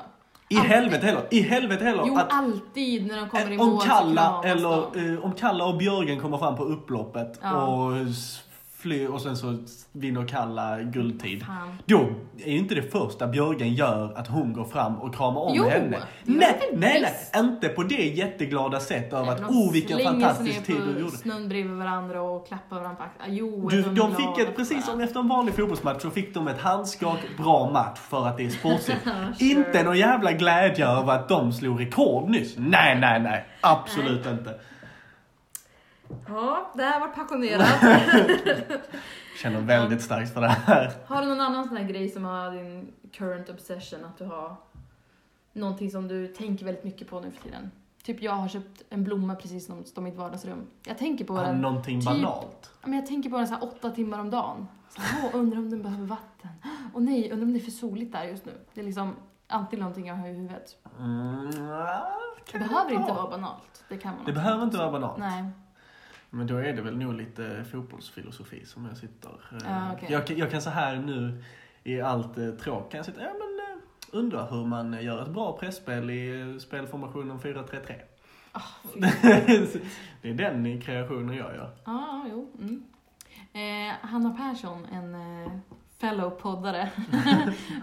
Speaker 2: I
Speaker 1: Alltid.
Speaker 2: helvete heller. I helvete heller.
Speaker 1: Jo,
Speaker 2: att- eh,
Speaker 1: alltid när de kommer i mål
Speaker 2: Om
Speaker 1: så
Speaker 2: Kalla,
Speaker 1: kramas
Speaker 2: eller,
Speaker 1: de.
Speaker 2: eh, om Kalla och Björgen kommer fram på upploppet
Speaker 1: Ja.
Speaker 2: och, s- fly, och sen så vinner Kalla guldtid.
Speaker 1: Fan.
Speaker 2: Då är ju inte det första Björgen gör att hon går fram och kramar om
Speaker 1: Jo,
Speaker 2: henne.
Speaker 1: det gör
Speaker 2: Nej,
Speaker 1: det
Speaker 2: nej,
Speaker 1: visst.
Speaker 2: nej, inte på det jätteglada sätt över
Speaker 1: Nej,
Speaker 2: att
Speaker 1: de
Speaker 2: oh vilken
Speaker 1: slänger sig
Speaker 2: fantastisk
Speaker 1: ner
Speaker 2: tid du
Speaker 1: på
Speaker 2: gjorde.
Speaker 1: snön bredvid varandå och klappar varandra på axeln. Ah, Jo,
Speaker 2: Du,
Speaker 1: är
Speaker 2: de
Speaker 1: glada
Speaker 2: fick ett,
Speaker 1: för
Speaker 2: precis
Speaker 1: [LAUGHS]
Speaker 2: som
Speaker 1: varandra.
Speaker 2: efter en vanlig fotbollsmatch så fick de ett handskak, bra match för att det är sportsligt.
Speaker 1: [LAUGHS] Sure.
Speaker 2: Inte någon jävla glädje över att de slog rekord nyss. Nej, nej, nej. Absolut inte.
Speaker 1: Ja, det här var
Speaker 2: [LAUGHS]
Speaker 1: passionerat.
Speaker 2: Känner väldigt starkt för det här.
Speaker 1: [LAUGHS] har du någon annan sån här grej som har din current obsession? Att du har någonting som du tänker väldigt mycket på nu för tiden? Typ jag har köpt en blomma precis som står i mitt vardagsrum. Jag tänker på den.
Speaker 2: Någonting
Speaker 1: typ-
Speaker 2: banalt.
Speaker 1: Ja, Men jag tänker på den så här åtta timmar om dagen. Så här, åh, undrar om den behöver vatten. [GASPS] Och nej, undrar om det är för soligt där just nu. Det är liksom alltid någonting jag har i huvudet.
Speaker 2: Mm, ah,
Speaker 1: Det
Speaker 2: kan
Speaker 1: behöver inte vara
Speaker 2: vara.
Speaker 1: banalt. Det kan vara
Speaker 2: Det
Speaker 1: något.
Speaker 2: behöver inte vara banalt.
Speaker 1: Nej.
Speaker 2: Men då är det väl nog lite fotbollsfilosofi som jag sitter... eh,
Speaker 1: Ja, Ah, okej.
Speaker 2: jag, kan- jag kan så här nu i allt eh, tråk kan jag sitta... Ja, men, eh, undrar hur man gör ett bra pressspel i eh, spelformationen 4-3-3.
Speaker 1: Ah, fy.
Speaker 2: [LAUGHS] det är den kreationen jag gör.
Speaker 1: Ja, ah, jo. Mm. Eh, Hanna Persson, en eh, fellow-poddare [LAUGHS]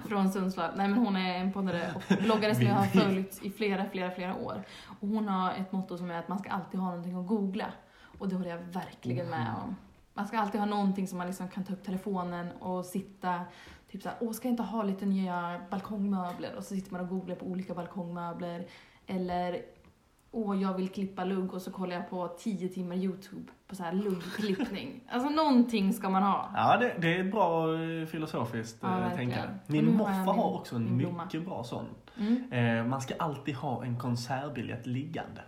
Speaker 1: från Sundsvall. Nej, men hon är en poddare och bloggare som jag har följt i flera, flera, flera år. Och hon har ett motto som är att man ska alltid ha någonting att googla. Och det håller jag verkligen med
Speaker 2: Mm.
Speaker 1: om. Man ska alltid ha någonting som man liksom kan ta upp telefonen och sitta Typ såhär, åh ska jag inte ha lite nya balkongmöbler? Och så sitter man och googlar på olika balkongmöbler. Eller, åh jag vill klippa lugg och så kollar jag på 10 timmar YouTube på såhär
Speaker 2: [LAUGHS]
Speaker 1: luggklippning. alltså någonting ska man ha.
Speaker 2: Ja, det, det är ett bra eh, filosofiskt
Speaker 1: Ja,
Speaker 2: ja,
Speaker 1: verkligen.
Speaker 2: tänkande.
Speaker 1: Och nu
Speaker 2: Min
Speaker 1: har
Speaker 2: morfar
Speaker 1: jag min-
Speaker 2: har också en
Speaker 1: min blomma.
Speaker 2: mycket bra sån.
Speaker 1: Mm.
Speaker 2: Eh, man ska alltid ha en konsertbiljett liggande.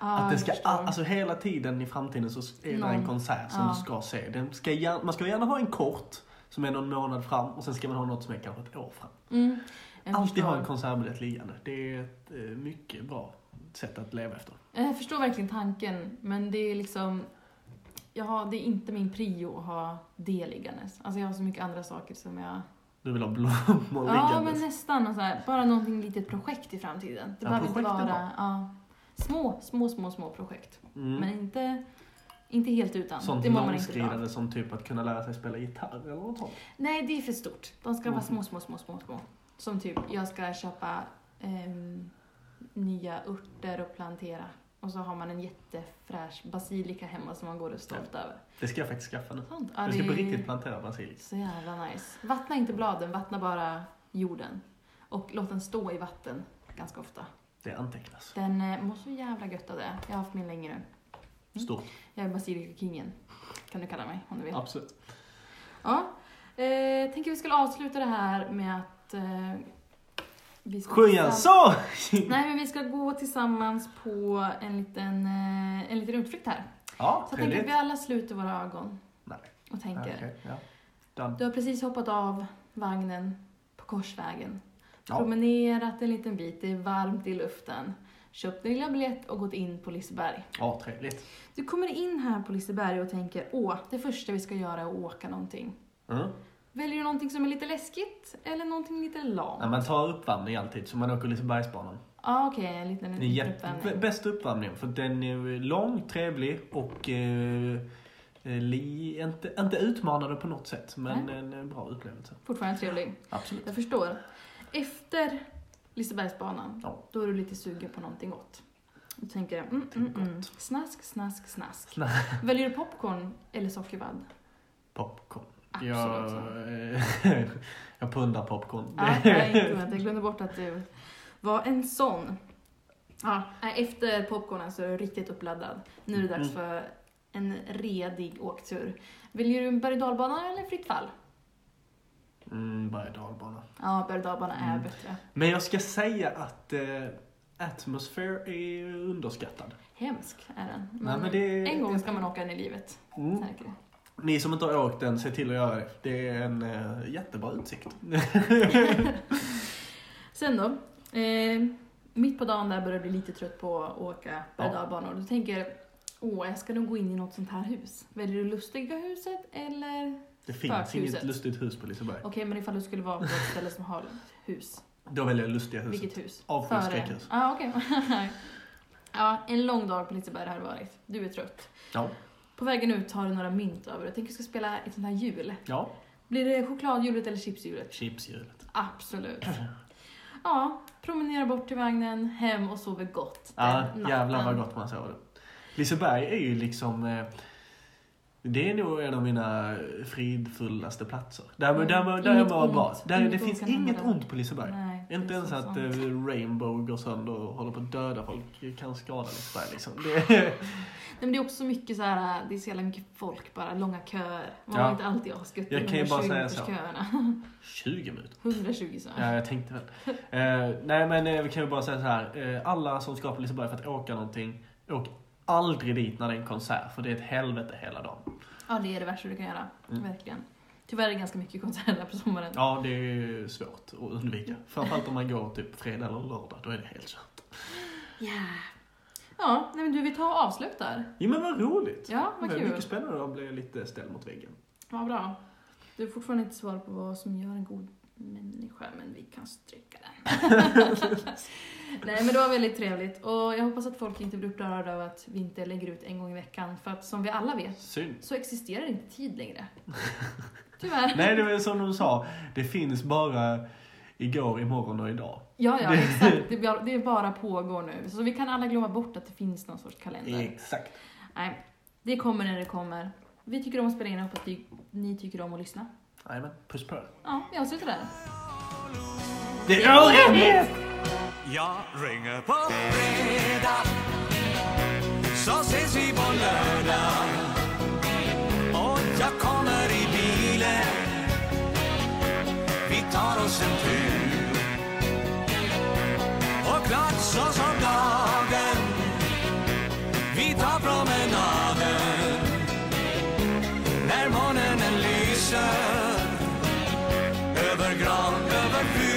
Speaker 1: Ja,
Speaker 2: Att det
Speaker 1: jag
Speaker 2: ska,
Speaker 1: förstår.
Speaker 2: all, alltså hela tiden i framtiden så är det
Speaker 1: Någon.
Speaker 2: en konsert som
Speaker 1: Ja.
Speaker 2: du ska se. Den ska gärna, man ska gärna ha en kort som är någon månad fram och sen ska man ha något som är kanske ett år fram.
Speaker 1: mm, jag
Speaker 2: Alltid
Speaker 1: förstår.
Speaker 2: ha en konsertbiljett liggande. Det är ett eh, mycket bra sätt att leva efter.
Speaker 1: Jag förstår verkligen tanken, men det är liksom... Jag har, det är inte min prio att ha det liggandes. Alltså jag har så mycket andra saker som jag...
Speaker 2: Du vill ha blommor
Speaker 1: Ja, men
Speaker 2: liggandes.
Speaker 1: nästan. Och så här, bara någonting litet projekt i framtiden. Det
Speaker 2: Ja,
Speaker 1: behöver inte
Speaker 2: projekt är
Speaker 1: vara
Speaker 2: bra.
Speaker 1: ja, små, små, små, små projekt.
Speaker 2: Mm.
Speaker 1: Men inte, inte helt utan.
Speaker 2: Sånt
Speaker 1: det mår man inte bra av.
Speaker 2: långskridande som typ att kunna lära sig spela gitarr eller något sånt.
Speaker 1: Nej, det är för stort. De ska vara
Speaker 2: Mm.
Speaker 1: små, små, små, små, små. Som typ, jag ska köpa ehm, nya örter och plantera. Och så har man en jättefräsch basilika hemma som man går och är stolt över.
Speaker 2: Det ska jag faktiskt skaffa nu.
Speaker 1: Sånt. Ja,
Speaker 2: Jag ska
Speaker 1: det
Speaker 2: på
Speaker 1: är-
Speaker 2: riktigt plantera basilika.
Speaker 1: Så jävla nice. Vattna inte bladen, vattna bara jorden. Och låt den stå i vatten ganska ofta.
Speaker 2: Det antecknas.
Speaker 1: Den eh, mår så jävla gött av det. Jag har haft min länge nu. Mm.
Speaker 2: Stort.
Speaker 1: Jag är basilikakingen. Kan du kalla mig om du vill. Ja.
Speaker 2: Absolut.
Speaker 1: Eh, tänker vi skulle avsluta det här med att eh, Vi ska
Speaker 2: Sjuan
Speaker 1: tillsammans-
Speaker 2: så!
Speaker 1: Nej, men vi ska gå tillsammans på en liten, eh, en liten utflykt här.
Speaker 2: [LAUGHS] Ja,
Speaker 1: Så jag tänker att
Speaker 2: trevligt.
Speaker 1: vi alla sluter våra ögon
Speaker 2: Nej.
Speaker 1: och tänker.
Speaker 2: Okej, ja. Done.
Speaker 1: Du har precis hoppat av vagnen på Korsvägen.
Speaker 2: Ja.
Speaker 1: Promenerat en liten bit, det är varmt i luften. Köpt din lilla biljett och gått in på Liseberg.
Speaker 2: Ja, trevligt.
Speaker 1: Du kommer in här på Liseberg och tänker, åh, det första vi ska göra är att åka någonting.
Speaker 2: Mm.
Speaker 1: Väljer du någonting som är lite läskigt eller någonting lite lamt?
Speaker 2: Ja, man tar uppvärmning alltid, så man åker Lisebergsbanan.
Speaker 1: Ja, okej, en liten
Speaker 2: Det är
Speaker 1: liten
Speaker 2: jätte-
Speaker 1: Mm, uppvärmning.
Speaker 2: b- bästa uppvärmningen, för den är ju lång, trevlig och eh, li, inte, inte utmanande på något sätt, men
Speaker 1: Nej.
Speaker 2: en eh, bra upplevelse.
Speaker 1: Fortfarande trevlig.
Speaker 2: Absolut.
Speaker 1: Jag förstår. Efter Lisebergsbanan,
Speaker 2: Ja.
Speaker 1: då är du lite sugen på någonting gott. Du tänker, mm, mm, mm. snask, snask, snask.
Speaker 2: [LAUGHS]
Speaker 1: Väljer du popcorn eller sockervadd?
Speaker 2: Popcorn.
Speaker 1: Absolut.
Speaker 2: Jag,
Speaker 1: så.
Speaker 2: eh, [LAUGHS] jag pundar popcorn.
Speaker 1: Ja, nej, inte vänta, jag glömde bort att du var en sån. Ja, nej, efter popcornen så är du riktigt uppladdad. Nu är det dags
Speaker 2: Mm.
Speaker 1: för en redig åktur. Väljer du en berg och dalbana eller fritt fall?
Speaker 2: Mm, berg och dalbana.
Speaker 1: Ja, berg och dalbana är
Speaker 2: Mm.
Speaker 1: bättre.
Speaker 2: Men jag ska säga att eh, Atmosphere är underskattad.
Speaker 1: Hemsk är den.
Speaker 2: Nej, men det-
Speaker 1: en gång
Speaker 2: det-
Speaker 1: ska man åka den i livet.
Speaker 2: Mm.
Speaker 1: Märker du?
Speaker 2: Ni som inte har åkt den, se till att göra det. Det är en eh, jättebra utsikt.
Speaker 1: Sen då, eh, mitt på dagen där börjar du bli lite trött på att åka
Speaker 2: Ja.
Speaker 1: berg-och-dalbanor. Du tänker, åh, jag ska nog gå in i något sånt här hus. Väljer du lustiga huset eller? Okej,
Speaker 2: Det finns
Speaker 1: Spökhuset.
Speaker 2: inget lustigt hus på Liseberg.
Speaker 1: men ifall du skulle vara på ett ställe som har hus.
Speaker 2: Då väljer jag lustiga huset.
Speaker 1: Vilket hus?
Speaker 2: Avundsjuk hus.
Speaker 1: Ja, ah, okej. [LAUGHS] ja, en lång dag på Liseberg har det varit. Du är trött.
Speaker 2: Ja.
Speaker 1: På vägen ut har du några mynt över. Jag tänker att du ska spela ett sånt här hjul.
Speaker 2: ja.
Speaker 1: Blir det chokladhjulet eller chipshjulet?
Speaker 2: Chipshjulet.
Speaker 1: Absolut.
Speaker 2: Mm.
Speaker 1: Ja, promenera bort till vagnen, hem och sover gott
Speaker 2: Ja,
Speaker 1: den
Speaker 2: jävlar vad
Speaker 1: natten.
Speaker 2: gott man såg det. Liseberg är ju liksom... eh, Det är nog en av mina fridfullaste platser. Där,
Speaker 1: Mm.
Speaker 2: där, där, där
Speaker 1: Inget
Speaker 2: jag var bra.
Speaker 1: ont.
Speaker 2: Där,
Speaker 1: Inget
Speaker 2: det
Speaker 1: ont
Speaker 2: finns
Speaker 1: kan hända
Speaker 2: inget
Speaker 1: där.
Speaker 2: ont på Liseberg.
Speaker 1: Nej, det
Speaker 2: Inte
Speaker 1: är
Speaker 2: ens
Speaker 1: så
Speaker 2: att
Speaker 1: sant.
Speaker 2: eh, Rainbow går sönder och håller på att döda folk. Kan skada Liseberg liksom.
Speaker 1: [LAUGHS]
Speaker 2: Det,
Speaker 1: Nej, men det är också mycket så här, det är så jävla mycket folk bara, långa köer. Man
Speaker 2: Ja.
Speaker 1: har inte alltid avskuttit
Speaker 2: Jag kan ju bara säga så.
Speaker 1: köerna. [LAUGHS]
Speaker 2: 20 minuter.
Speaker 1: 120 så.
Speaker 2: Ja, jag tänkte väl. Eh, nej, men eh, vi kan ju bara säga så här. Eh, alla som ska på Liseberg för att åka någonting, åk aldrig dit när det är en konsert, för det är ett helvete hela dagen.
Speaker 1: Ja, det är det värsta du kan göra.
Speaker 2: Mm.
Speaker 1: Verkligen. Tyvärr är det ganska mycket konserter på sommaren.
Speaker 2: Ja, det är svårt att undvika. Framförallt om man går typ fredag eller lördag, då är det helt kört.
Speaker 1: Ja. Ja, nej men du, vi tar och avslutar.
Speaker 2: Ja, men vad roligt!
Speaker 1: Ja,
Speaker 2: det
Speaker 1: vad
Speaker 2: var
Speaker 1: kul.
Speaker 2: mycket spännande att bli lite ställd mot väggen.
Speaker 1: Vad bra. Du har fortfarande inte svar på vad som gör en god människa, men vi kan stryka
Speaker 2: [LAUGHS]
Speaker 1: den. Nej, men det var väldigt trevligt och jag hoppas att folk inte blir upprörda över att vi inte lägger ut en gång i veckan för att som vi alla vet
Speaker 2: Synd.
Speaker 1: så existerar inte tid
Speaker 2: [LAUGHS]
Speaker 1: längre. Tyvärr.
Speaker 2: Nej, det var ju som de sa, det finns bara igår, imorgon och idag.
Speaker 1: Ja, ja, exakt. Det bara, det bara pågår nu. Så vi kan alla glömma bort att det finns någon sorts kalender.
Speaker 2: Exakt.
Speaker 1: Nej, det kommer när det kommer. Vi tycker om att spela in och hoppas att ni- ni tycker om att lyssna.
Speaker 2: Jajamän, puss på er.
Speaker 1: Ja, vi avslutar där.
Speaker 2: Det är orimligt!
Speaker 4: Jag ringer på fredag Så ses vi på lördag Och jag kommer i bilen Vi tar oss en tur Och klart så som dagen Vi tar promenaden När månen den lyser Över gran, över fyr